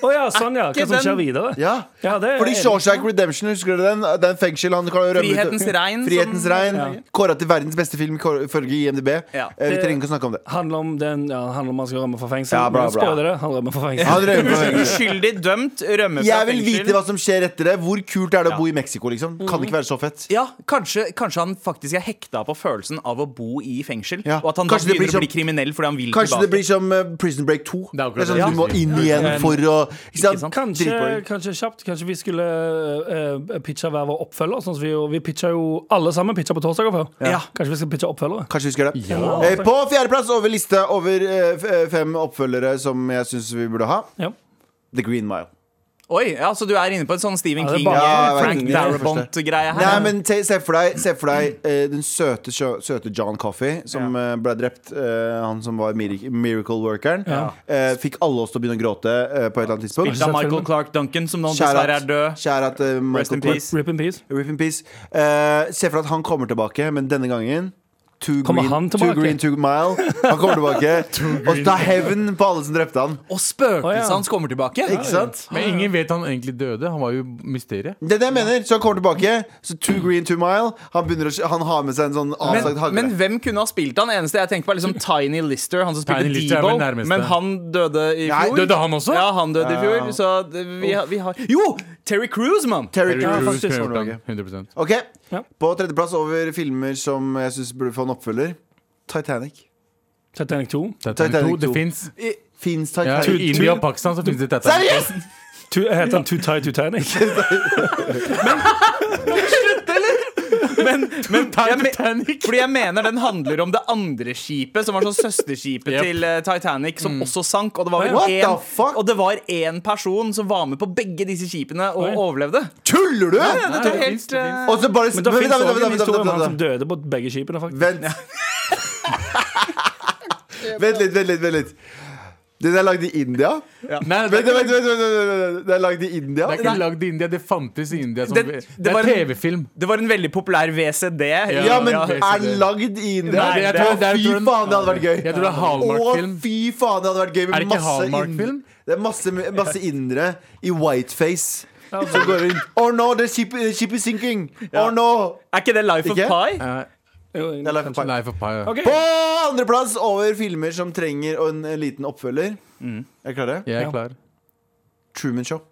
Speaker 5: Å ja, sånn, ja. Hva som skjer videre?
Speaker 4: Ja,
Speaker 5: Ja, det er
Speaker 4: Fordi
Speaker 5: jeg enig
Speaker 4: Shawshank Redemption, husker dere den? Den fengsel han kan jo rømme ut-
Speaker 2: Frihetens regn,
Speaker 4: Frihetens
Speaker 2: som-
Speaker 4: regn Kåra til verdens beste film kår- ifølge IMDb.
Speaker 2: Ja.
Speaker 4: Eh, vi
Speaker 5: Det-
Speaker 4: trenger ikke å snakke om det.
Speaker 5: Handler om den, ja, handler om han skal rømme fra fengsel.
Speaker 4: Ja, bra,
Speaker 5: Men
Speaker 4: bra.
Speaker 5: spoiler det, han rømmer fra fengsel.
Speaker 4: Han rømmer fra fengsel.
Speaker 2: Uskyldig dømt, rømme fra
Speaker 4: Jeg vil
Speaker 2: fengsel.
Speaker 4: vite hva som skjer etter det. Hvor kult er det å bo i Mexico? liksom Kan ikke være så fett.
Speaker 2: Ja, kanskje, kanskje han faktisk er hekta på følelsen av å bo i fengsel.
Speaker 4: Ja.
Speaker 2: Og at han da
Speaker 4: Kanskje det blir
Speaker 2: begynner å
Speaker 4: som-
Speaker 2: bli kriminell fordi han vil tilbake.
Speaker 4: Kanskje det blir som eh, Prison Break 2.
Speaker 3: Det er akkurat
Speaker 4: Det er sånn,
Speaker 3: det.
Speaker 4: du må inn igjen for å Ikke sant?
Speaker 2: sant?
Speaker 5: Kanskje,
Speaker 4: Dritboring.
Speaker 5: kanskje kjapt. Kanskje vi skulle uh, pitche hver vår oppfølger. Sånn som vi, jo- vi pitcha jo alle sammen pitcha på torsdager før.
Speaker 2: Ja.
Speaker 5: Kanskje vi skal pitche oppfølgere?
Speaker 4: Kanskje vi skal gjøre det. Eh, På fjerdeplass over lista over eh, f- eh, fem oppfølgere som jeg syns vi burde ha.
Speaker 5: Ja.
Speaker 4: The Green Mile. sånn-
Speaker 2: Oi, ja, Så du er inne på en sånn Stephen
Speaker 5: Ja, det er
Speaker 2: King,
Speaker 5: bare-
Speaker 4: Ja, jeg
Speaker 2: Frank
Speaker 4: vet.
Speaker 2: Darabont-greie her?
Speaker 4: Nei, men te, se for deg, se for deg eh, den søte, sjø- søte John Coffey som eh, ble drept. eh, han som var mir miracle workeren. Eh, fikk alle oss til å begynne å gråte eh, på et eller annet tidspunkt.
Speaker 2: Spilt av Michael Clark Duncan, som nå
Speaker 4: Kjære
Speaker 2: dessverre
Speaker 4: at-
Speaker 2: er død.
Speaker 4: kjære at, eh,
Speaker 2: Rest
Speaker 4: Michael
Speaker 2: in
Speaker 4: Clark-
Speaker 2: peace.
Speaker 5: Rip in peace.
Speaker 4: Rip in peace. Eh, se for deg at han kommer tilbake, men denne gangen Too
Speaker 5: Kommer
Speaker 4: green,
Speaker 5: han
Speaker 4: too
Speaker 5: tilbake?
Speaker 4: green, too mile. Han kommer
Speaker 2: [LAUGHS]
Speaker 4: tilbake og ta hevn på alle som drepte han.
Speaker 2: Og spøkelset
Speaker 5: Å, ja.
Speaker 2: hans kommer tilbake!
Speaker 4: Ikke sant?
Speaker 3: Men ingen vet han egentlig døde. Han var jo mysteriet.
Speaker 4: Det er det jeg mener. Så han kommer tilbake. Så too green, too mile. Han, begynner å, han har med seg en sånn
Speaker 2: Men,
Speaker 4: avsagt hagle.
Speaker 2: men hvem kunne ha spilt han? Eneste jeg tenker på er liksom Tiny Lister, han som spilte
Speaker 3: Tiny Lister er vel
Speaker 2: Debo.
Speaker 3: nærmeste.
Speaker 2: Men han døde i
Speaker 4: Nei,
Speaker 2: fjor.
Speaker 3: døde han også?
Speaker 2: Ja, han døde i fjor. Så det, vi, har- vi har Jo! Terry Cruise, mann!
Speaker 4: Terry
Speaker 3: Terry
Speaker 4: Crews.
Speaker 3: Crews
Speaker 5: faktisk.
Speaker 3: kunne gjort han, 100%
Speaker 4: Ok,
Speaker 5: Ja.
Speaker 4: På tredjeplass over filmer som jeg syns burde få en oppfølger. Titanic.
Speaker 5: Titanic 2.
Speaker 4: Titanic
Speaker 3: Titanic 2, det
Speaker 4: to.
Speaker 3: fins.
Speaker 4: Fins
Speaker 3: Ja,
Speaker 4: Titanic?
Speaker 3: I India og Pakistan så fins det Titanic.
Speaker 4: Seriøst!
Speaker 5: Tu- eh, Heter han Too Tight
Speaker 4: [LAUGHS]
Speaker 5: Titanic?
Speaker 2: Men jeg me- Fordi jeg mener den handler om det andre skipet, som var sånn søsterskipet
Speaker 3: Yep.
Speaker 2: til eh, Titanic,
Speaker 3: Mm.
Speaker 2: som også sank. Og det, var
Speaker 4: What
Speaker 2: vel
Speaker 4: the
Speaker 2: en,
Speaker 4: fuck?
Speaker 2: og det var én person som var med på begge disse skipene og
Speaker 5: Oi.
Speaker 2: overlevde.
Speaker 4: Tuller du?!
Speaker 2: Det
Speaker 3: det
Speaker 2: er
Speaker 3: finnes,
Speaker 2: helt
Speaker 3: det
Speaker 2: eh,
Speaker 4: Og så bare
Speaker 5: Men det
Speaker 4: Vent,
Speaker 5: fins
Speaker 4: vent,
Speaker 5: også en
Speaker 4: vent, vent,
Speaker 5: historie om han
Speaker 4: vent,
Speaker 5: som døde på begge
Speaker 4: [LAUGHS]
Speaker 5: skipene, faktisk.
Speaker 4: vent, vent. Vent litt, vent litt. Vent litt. Den er lagd i India?
Speaker 3: Nei, det,
Speaker 4: Vent, vent, vent, vent, vent, vent, vent. Den er lagd i India?
Speaker 3: det er ikke lagd i India. Det fantes i India. Som,
Speaker 2: Det-
Speaker 3: det,
Speaker 2: det var
Speaker 3: er
Speaker 2: en-
Speaker 3: TV-film.
Speaker 2: eh, Det var en veldig populær VCD.
Speaker 4: Ja, men
Speaker 3: Ja,
Speaker 4: er den lagd i India?
Speaker 3: Nei, jeg tror-
Speaker 4: Å,
Speaker 3: jeg
Speaker 4: fy
Speaker 3: tror den-
Speaker 4: faen, det hadde vært gøy.
Speaker 3: Jeg tror det er Hallmark-film.
Speaker 4: Å, fy faen, det hadde vært gøy med
Speaker 3: Er det ikke
Speaker 4: masse ind-
Speaker 3: Hallmark-film?
Speaker 4: Det er masse, masse indre i whiteface. Som går rundt. Oh no, the ship, the ship is sinking! Oh no!
Speaker 2: Er ikke det Life
Speaker 4: Ikke?
Speaker 2: of Pi?
Speaker 3: Eh,
Speaker 4: Det er Life of Pi.
Speaker 3: Life of Pi. ja.
Speaker 5: Ok.
Speaker 4: På andreplass over filmer som trenger en en liten oppfølger.
Speaker 3: Mm.
Speaker 4: Er dere klare?
Speaker 3: Jeg er klar.
Speaker 4: Truman Show.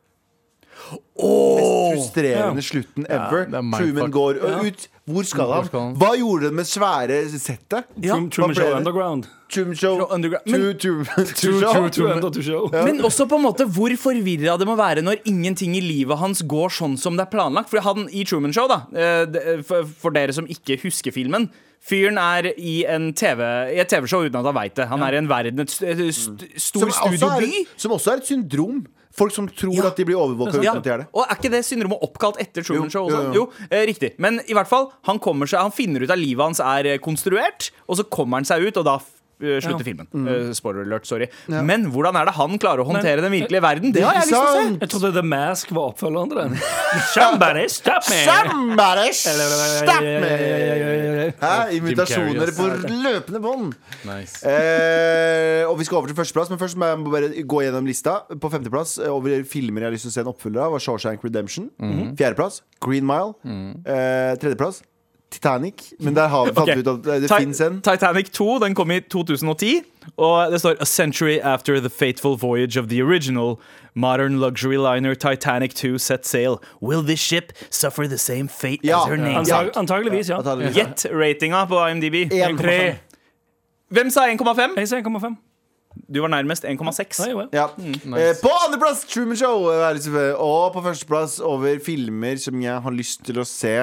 Speaker 4: Mest frustrerende slutten ever.
Speaker 3: det er mindfuck.
Speaker 4: Truman går og ut. Hvor skal
Speaker 3: Hvor skal han?
Speaker 4: han? Hva gjorde han med svære settet?
Speaker 5: Truman, Truman
Speaker 4: Hva ble
Speaker 5: Show
Speaker 4: det?
Speaker 5: Underground.
Speaker 4: Truman Show.
Speaker 2: Show Underground.
Speaker 4: True, true, true,
Speaker 3: true,
Speaker 4: show.
Speaker 3: true. Truman.
Speaker 5: Under to show.
Speaker 2: Men også på en måte hvor forvirra det må være når ingenting i livet hans går sånn som det er planlagt. For han i Truman Show, da, eh, det- for for dere som ikke husker filmen Fyren er i, en TV, i et TV-show uten at han veit det. Han er i en verden, et st eh, st stor
Speaker 4: Mm. Som også, er,
Speaker 2: studioby.
Speaker 4: som også er et syndrom. Folk som tror
Speaker 2: Ja.
Speaker 4: at de blir overvåka
Speaker 2: Ja,
Speaker 4: uten at de er det.
Speaker 2: og er ikke det syndromet oppkalt etter Truman
Speaker 4: Jo,
Speaker 2: Show?
Speaker 4: jo,
Speaker 2: Også? Jo,
Speaker 4: jo.
Speaker 2: eh, riktig. Men i hvert fall, han kommer seg Han finner ut at livet hans er eh, konstruert, og så kommer han seg ut, og da f- eh, slutter filmen.
Speaker 4: Mm.
Speaker 2: Eh, spoiler alert, sorry. Men hvordan er det han klarer å håndtere den virkelige verden? Det har jeg lyst til å se!
Speaker 4: Sånn.
Speaker 5: Jeg trodde The Mask var oppfølgeren [LAUGHS] til den. Somebody stop me!
Speaker 4: Somebody stop me!
Speaker 5: me!
Speaker 4: Hæ?
Speaker 3: Jim Carrey,
Speaker 4: Invitasjoner
Speaker 3: ass.
Speaker 4: på løpende bånd.
Speaker 3: Nice.
Speaker 4: Eh, og vi skal over til førsteplass, men først må jeg bare gå gjennom lista. På femteplass eh, over filmer jeg har lyst til å se en oppfølger av, var Shawshank Redemption.
Speaker 2: Mhm.
Speaker 4: Fjerdeplass Green Mile. Eh, tredjeplass Titanic. Men der har vi fant
Speaker 2: Ok.
Speaker 4: ut at eh, det
Speaker 2: Ti-
Speaker 4: fins en.
Speaker 2: Titanic 2 den kom i 2010, og det står A century after the fateful voyage of the original modern luxury liner Titanic 2 set sail. Will this ship suffer the same fate
Speaker 4: Ja.
Speaker 2: as her name?
Speaker 4: Ja.
Speaker 5: Antag antageligvis, ja.
Speaker 4: Antageligvis.
Speaker 2: Gjett ratinga på IMDb.
Speaker 4: 1,5.
Speaker 2: Hvem sa 1,5?
Speaker 5: Jeg sier 1,5.
Speaker 2: Du var nærmest 1,6.
Speaker 5: Nei, jo, ja.
Speaker 4: Ja. Eh, på andreplass Truman Show. eh, er det selvfølgelig. Og på førsteplass over filmer som jeg har lyst til å se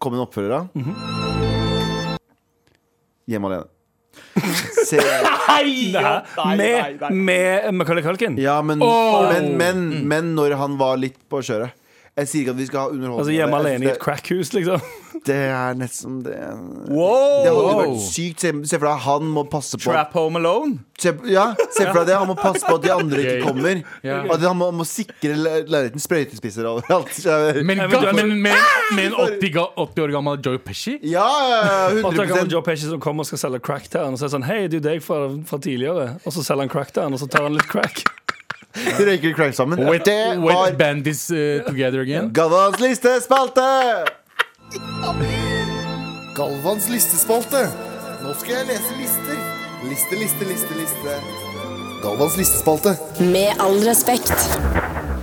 Speaker 4: komme en oppfølger av.
Speaker 5: Mhm.
Speaker 4: Hjemme alene. [LAUGHS] Se.
Speaker 5: Hæ? Med, med Macaulay Culkin.
Speaker 4: Ja, men, men,
Speaker 5: Mm.
Speaker 4: men, men når han var litt på kjøret. Jeg sier ikke at vi skal ha underholdning.
Speaker 5: Altså hjemme
Speaker 4: av det. Jeg
Speaker 5: alene i
Speaker 4: synes
Speaker 5: et crackhus,
Speaker 4: [LAUGHS]
Speaker 5: liksom.
Speaker 4: Det, det er nesten det Det hadde
Speaker 2: Wow!
Speaker 4: vært sykt. Se, se for deg han må passe på
Speaker 2: Trap Home Alone.
Speaker 4: Se, ja, se for deg det. Han må passe på at de andre ikke kommer.
Speaker 3: Ja.
Speaker 4: At han må, må sikre le- leiligheten sprøytespisser overalt.
Speaker 5: [LAUGHS]
Speaker 4: Ja,
Speaker 3: Men,
Speaker 5: Eventuelt-
Speaker 3: Eh, men, men, med en 80, ga- 80 år gammel Joe Pesci?
Speaker 4: ja, ja,
Speaker 5: Åtte år gammel
Speaker 4: 100
Speaker 5: Joe Pesci som kommer og skal selge crack til han Og så er det sånn, hei, det er jo deg fra, fra tidligere Og så selger han crack til han, og så tar han litt crack
Speaker 4: De røyker crack sammen.
Speaker 3: Wet,
Speaker 4: Det
Speaker 3: wet
Speaker 4: var
Speaker 3: Bandits eh, Together Again?
Speaker 4: Galvans listespalte!
Speaker 7: Galvans listespalte. Nå skal jeg lese lister. Liste, liste, liste, liste. Galvans listespalte.
Speaker 6: Med all respekt.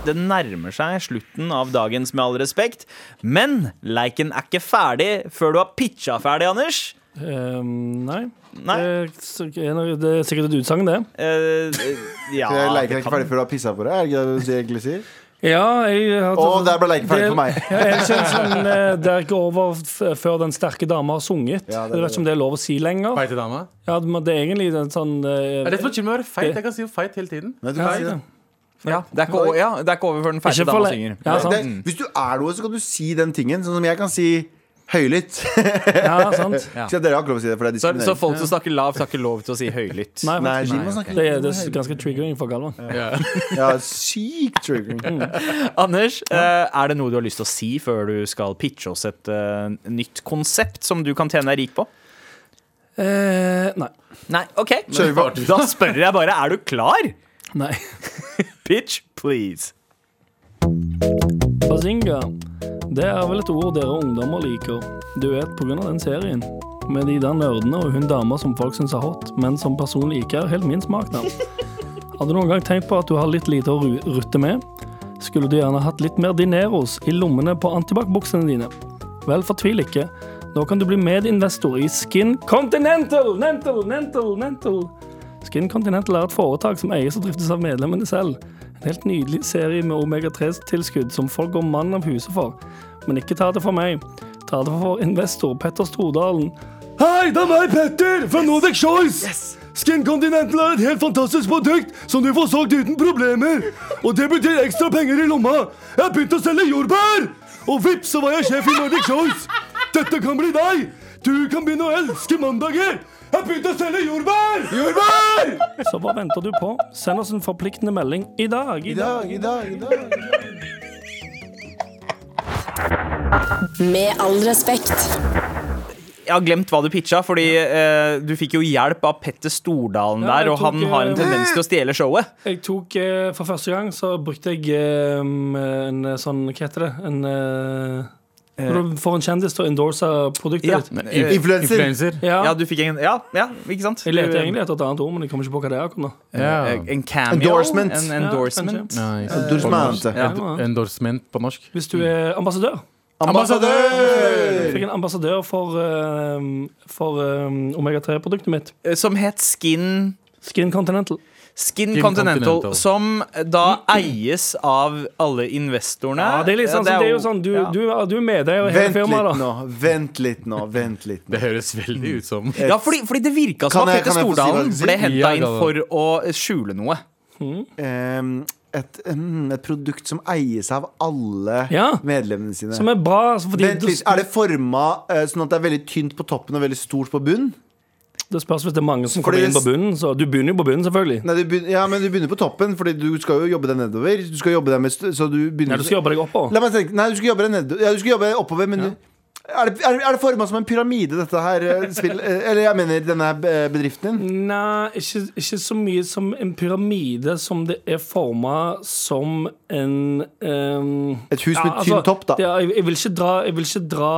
Speaker 2: Det nærmer seg slutten av dagens Med all respekt, men leiken er ikke ferdig før du har pitcha ferdig, Anders.
Speaker 5: [LAUGHS] Ehm, Nei,
Speaker 2: Nei.
Speaker 5: Det, er så- det er noe- det er sikkert et utsagn det
Speaker 2: Eh,
Speaker 4: [LAUGHS]
Speaker 2: ja,
Speaker 4: Jeg leker
Speaker 2: det
Speaker 4: ikke
Speaker 2: kan-
Speaker 4: ferdig før du har pissa på deg. Er det ikke det du egentlig sier?
Speaker 5: Ja, jeg har
Speaker 4: Å, der ble leken
Speaker 5: Altså,
Speaker 4: ferdig
Speaker 5: Det-
Speaker 4: for meg.
Speaker 5: [LAUGHS] ja, jeg kjenner sånn, eh, det er ikke over f- før den sterke dama har sunget
Speaker 4: Ja, det er
Speaker 5: Jeg vet ikke om det er lov å si lenger
Speaker 3: Feite dama?
Speaker 5: ja, men Det er egentlig en sånn eh,
Speaker 3: Er det som til og med å være feit? Jeg kan si jo feit hele tiden.
Speaker 4: Nei, du
Speaker 5: ja,
Speaker 4: kan si det.
Speaker 2: Ja, det er ikke, o- ja, det er ikke over før den ferdige
Speaker 5: Ikke
Speaker 2: dama
Speaker 5: for le-
Speaker 2: synger.
Speaker 5: Ja,
Speaker 4: det,
Speaker 5: sant,
Speaker 4: hvis du er noe, så kan du si den tingen. Sånn som jeg kan si høylytt.
Speaker 5: ja,
Speaker 4: [LAUGHS]
Speaker 5: sant.
Speaker 4: Så dere har ikke lov å si det, for det
Speaker 2: Så,
Speaker 4: er
Speaker 2: så
Speaker 4: diskriminering.
Speaker 2: folk som snakker lavt, har ikke lov til å si høylytt.
Speaker 5: Nei,
Speaker 4: Nei,
Speaker 5: faktisk-
Speaker 4: Jim må snakke
Speaker 5: det, er, det er ganske triggering for Galvan
Speaker 4: Ja, sykt triggering.
Speaker 2: Anders, eh, er det noe du har lyst til å si før du skal pitche oss et eh, nytt konsept som du kan tjene deg rik på?
Speaker 5: eh, Nei,
Speaker 2: Nei, OK.
Speaker 4: Kjør på.
Speaker 2: Da spør jeg bare, er du klar?
Speaker 5: nei
Speaker 2: Pitch, please.
Speaker 5: Bazinga. Det er vel et ord dere ungdommer liker. Du vet, på grunn av den serien. Med de der nerdene og hun dama som folk syns er hot, men som personlig ikke er helt min smak, da. Har du noen gang tenkt på at du har litt lite å ru- rutte med? Skulle du gjerne hatt litt mer dineros i lommene på antibac-buksene dine? Vel, fortvil ikke. Nå kan du bli medinvestor i Skin Continental! Nental, nental, nental. Skin Continental er et foretak som eies og driftes av medlemmene selv. En helt nydelig serie med omega-3-tilskudd som folk går mann av huset for. Men ikke ta det for meg. Ta det for investor Petter Stordalen. Hei, det er meg, Petter, fra Nordic Choice! Skin Continental er et helt fantastisk produkt som du får solgt uten problemer. Og det betyr ekstra penger i lomma. Jeg har begynt å selge jordbær! Og vips, så var jeg sjef i Nordic Choice. Dette kan bli deg! Du kan begynne å elske mandager!
Speaker 3: har begynt å selge jordbær!
Speaker 5: Så hva venter du på? Send oss en forpliktende melding i dag. I dag.
Speaker 4: I dag, i dag.
Speaker 6: Med all respekt.
Speaker 2: Jeg har glemt hva du pitcha, fordi eh, du fikk jo hjelp av Petter Stordalen
Speaker 5: Ja, jeg
Speaker 2: der, og han
Speaker 5: tok,
Speaker 2: har en
Speaker 5: eh,
Speaker 2: tendens til å stjele showet.
Speaker 5: Jeg tok, eh, For første gang så brukte jeg eh, en eh, sånn Hva heter det? En eh, Når du får en kjendis til å endorse produktet
Speaker 2: Ja.
Speaker 5: ditt.
Speaker 2: Eh,
Speaker 4: Influencer.
Speaker 3: Influenser.
Speaker 5: Ja.
Speaker 2: Ja, du fikk en Ja, ja ikke sant?
Speaker 5: Jeg leter
Speaker 2: Du- eh,
Speaker 5: egentlig etter et annet ord, men jeg kommer ikke på hva det er. akkurat nå.
Speaker 3: Ja.
Speaker 2: En cameo?
Speaker 4: Endorsement.
Speaker 2: En endorsement.
Speaker 3: Nice.
Speaker 4: Du som er annet.
Speaker 2: Ja.
Speaker 3: End- Endorsement på norsk.
Speaker 5: Hvis du er ambassadør. Jeg
Speaker 4: Ambassadør!
Speaker 5: fikk en ambassadør for, eh, for eh, Omega-3-produktet mitt.
Speaker 2: Eh, Som het Skin
Speaker 5: Skin Continental.
Speaker 2: Skin,
Speaker 3: Skin
Speaker 2: Continental,
Speaker 3: Continental.
Speaker 2: som da eies av alle investorene.
Speaker 5: Ja, det er litt sånn, så det er jo sånn, Du,
Speaker 2: ja.
Speaker 5: du, du er medeier i hele
Speaker 4: Vent litt
Speaker 5: firmaet. da
Speaker 4: nå, vent litt nå. Vent litt
Speaker 5: [LAUGHS]
Speaker 4: nå.
Speaker 3: Det høres veldig ut som
Speaker 2: Ja, fordi, fordi det virka som
Speaker 4: Kan
Speaker 2: at Petter
Speaker 4: jeg- kan jeg få si hva jeg
Speaker 2: Stordalen
Speaker 4: skal si?
Speaker 2: ble henta
Speaker 3: Ja,
Speaker 2: inn
Speaker 3: Galvan.
Speaker 2: for å skjule noe.
Speaker 4: Ehm, et, mm, et produkt som eies av alle
Speaker 5: Ja.
Speaker 4: medlemmene sine.
Speaker 5: Som er bra. altså, Fordi
Speaker 4: Vent litt, Er det forma eh, sånn at det er veldig tynt på toppen og veldig stort på bunnen?
Speaker 5: Det spørs hvis det er mange som
Speaker 4: Fordi
Speaker 5: kommer inn
Speaker 4: det-
Speaker 5: på bunnen. Så du begynner jo på bunnen, selvfølgelig.
Speaker 4: Nei, du begyn- ja, men du begynner på toppen, Fordi du skal jo jobbe deg nedover. Du skal jobbe deg med st- så du
Speaker 5: Nei,
Speaker 4: begynner
Speaker 5: du skal jobbe deg oppover.
Speaker 4: La meg tenke, nei, du skal jobbe deg nedover. Ja, du skal jobbe deg oppover, men du er det, er, er det forma som en pyramide, dette her eh, spill? Eh, Eller jeg mener denne her eh, bedriften din?
Speaker 5: Nei, ikke, ikke så mye som en pyramide som det er forma som en ehm,
Speaker 4: Et hus med tynn topp, da.
Speaker 5: det er- jeg, jeg, vil ikke dra, jeg, vil ikke dra,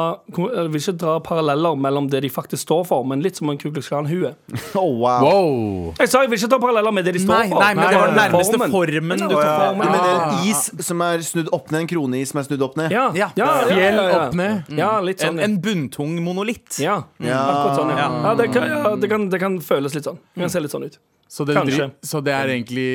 Speaker 5: jeg vil ikke dra paralleller mellom det de faktisk står for, men litt som en Ku Klux Klan-hue.
Speaker 4: Oh, wow.
Speaker 3: Wow!
Speaker 5: Jeg sa jeg vil ikke ta paralleller med det de står
Speaker 2: Nei,
Speaker 5: for.
Speaker 2: nei, men det var den
Speaker 5: Bare
Speaker 2: nærmeste formen du tok
Speaker 4: Du
Speaker 2: formen.
Speaker 4: mener en is som er snudd opp ned? En kroneis som er snudd opp ned?
Speaker 5: Ja, ja,
Speaker 2: Ja.
Speaker 5: ja, ja,
Speaker 3: Fjell
Speaker 5: ja.
Speaker 3: opp ned.
Speaker 5: ja litt
Speaker 2: En,
Speaker 5: sånn.
Speaker 2: en bunntung monolitt.
Speaker 5: Ja, akkurat sånn. Ja.
Speaker 2: Ja.
Speaker 5: Ja, det, kan, ja, det, kan, det kan føles litt sånn. Det kan se litt sånn ut.
Speaker 3: Så det, er
Speaker 5: Kanskje.
Speaker 3: dri- så det er egentlig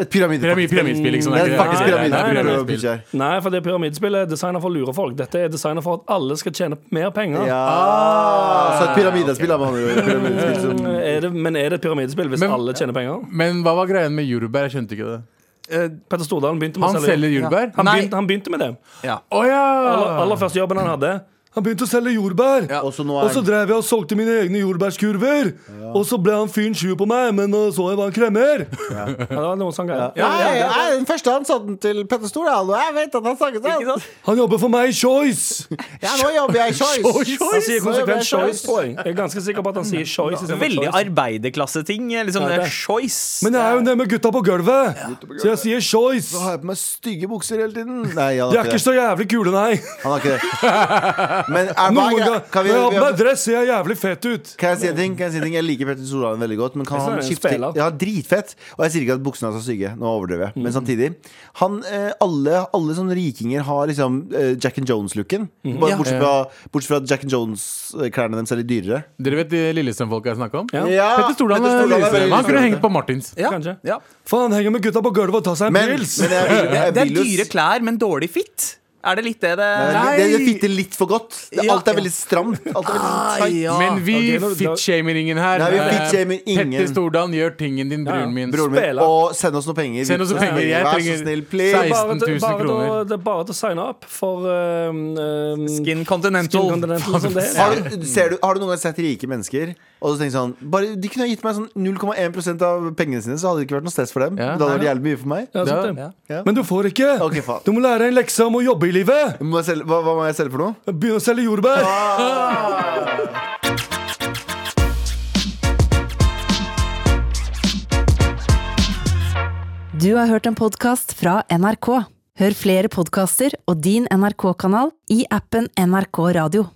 Speaker 4: Et pyramide.
Speaker 3: pyramid, pyramidespill, liksom.
Speaker 4: Det er
Speaker 3: ikke
Speaker 4: faktisk
Speaker 5: Nei,
Speaker 3: det
Speaker 4: pyramide.
Speaker 3: er
Speaker 5: nei,
Speaker 4: prøver å
Speaker 3: pyramidespill.
Speaker 4: pitche her.
Speaker 5: Nei, for det pyramidespill er designet for å lure folk. Dette er designet for at alle skal tjene mer penger.
Speaker 4: Ja, så et pyramidespill er med andre ord. et Pyramidespill som
Speaker 5: Eh, Er det, men er det et pyramidespill hvis
Speaker 3: Men-
Speaker 5: alle tjener penger?
Speaker 3: Men hva var greien med jordbær? Jeg skjønte ikke det.
Speaker 5: Petter Stordalen begynte med
Speaker 3: Han
Speaker 5: å selge
Speaker 3: selger jordbær?
Speaker 5: han
Speaker 2: Nei.
Speaker 5: begynte, han begynte med det.
Speaker 3: Å ja!
Speaker 5: Aller, aller første jobben han hadde. Ah. Han begynte å selge jordbær!
Speaker 4: Og så nå er- Og så
Speaker 5: drev jeg og solgte mine egne jordbærskurver! Og så ble han fyren sju på meg, men så jeg var en kremmer! Ja. det var noe sånn greier.
Speaker 4: Nei, nei, den første han satte den til Petter Stordalen, og jeg vet at han snakket sånn.
Speaker 5: Han jobber for meg i Choice!
Speaker 4: Ja, nå jobber jeg i Choice.
Speaker 5: Han sier
Speaker 4: Nå jobber jeg i
Speaker 5: konsekvent Choice, tror jeg. Jeg er ganske sikker på at han sier Choice. istedenfor
Speaker 2: Veldig
Speaker 5: choice.
Speaker 2: arbeiderklasseting. Liksom
Speaker 5: Ja,
Speaker 2: det
Speaker 5: det.
Speaker 2: er choice.
Speaker 5: Men jeg er jo nede med gutta på gulvet, så jeg sier
Speaker 4: Så
Speaker 5: choice.
Speaker 4: har jeg på meg stygge bukser hele tiden. Nei, han
Speaker 5: De er
Speaker 4: har
Speaker 5: ikke
Speaker 4: ikke det.
Speaker 5: så jævlig kule, nei.
Speaker 4: Han har ikke det. Men er hva
Speaker 5: Noen
Speaker 4: er
Speaker 5: ganger
Speaker 4: greia? Kan,
Speaker 5: Når jeg har på meg
Speaker 4: vi, vi,
Speaker 5: dress, ser jeg jævlig fett ut.
Speaker 4: kan jeg si en ting? Kan Jeg si en ting? Jeg liker Petter Stordalen veldig godt, men kan
Speaker 5: synes
Speaker 4: han
Speaker 5: han er en
Speaker 4: skifte
Speaker 5: spiller.
Speaker 4: Ja, dritfett. Og jeg sier ikke at buksene hans er så stygge, nå overdriver jeg. Men samtidig. Han, eh, alle, alle sånne rikinger har liksom eh, Jack and Jones-looken. Bare Bortsett fra, bortsett fra at Jack and Jones-klærne deres er litt dyrere.
Speaker 3: Dere vet de Lillestrøm-folka jeg snakka om?
Speaker 5: Ja.
Speaker 3: Petter Stordalen er
Speaker 4: Petter Stordalen er
Speaker 3: Lillestrøm.
Speaker 4: veldig
Speaker 3: Han kunne
Speaker 4: Lillestrøm.
Speaker 3: hengt på Martins.
Speaker 2: Ja,
Speaker 5: Kanskje.
Speaker 2: ja.
Speaker 5: Faen, henger med gutta på gulvet og tar seg en
Speaker 4: Men,
Speaker 5: pils.
Speaker 4: men jeg vil, jeg
Speaker 2: Det er
Speaker 4: vil jo s-
Speaker 2: dyre klær, men dårlig fit. Er det litt det det
Speaker 4: Det,
Speaker 3: Nei.
Speaker 4: det, det fitter litt for godt. Det,
Speaker 2: Ja.
Speaker 4: alt er veldig stramt. Alt er veldig sånn tight.
Speaker 2: ja.
Speaker 3: Men vi
Speaker 5: ok, nå-
Speaker 3: fitshamer ingen her.
Speaker 4: Nei, vi
Speaker 3: Eh,
Speaker 4: fitshamer ingen.
Speaker 3: Petter Stordalen gjør tingen din,
Speaker 5: Ja, ja.
Speaker 3: broren min.
Speaker 4: Broren min,
Speaker 5: Spela.
Speaker 4: og send oss noen penger.
Speaker 3: Send oss noen penger. Jeg
Speaker 4: Vær så
Speaker 3: trenger
Speaker 4: snill, please.
Speaker 3: 16
Speaker 5: bare, til-
Speaker 3: 000
Speaker 5: bare, til å-
Speaker 3: kroner.
Speaker 5: det er bare til å signe opp for um, um,
Speaker 2: Skin Continental.
Speaker 5: Continental, som det er.
Speaker 4: Har du, ser du, har du noen gang sett rike mennesker Og så tenkt sånn bare, De kunne ha gitt meg sånn 0,1 av pengene sine, så hadde det ikke vært noe stress for dem.
Speaker 3: Ja.
Speaker 4: det hadde vært jævlig mye for meg.
Speaker 5: Ja, sant
Speaker 3: Ja,
Speaker 5: det.
Speaker 4: ja.
Speaker 5: Men du får ikke.
Speaker 4: Ok, faen.
Speaker 5: Du må lære en lekse om å jobbe i livet.
Speaker 4: Må jeg selge, hva, hva må jeg selge for noe?
Speaker 5: Begynne å selge jordbær.
Speaker 1: Du har hørt en podkast fra NRK. Hør flere podkaster og din NRK-kanal i appen NRK Radio.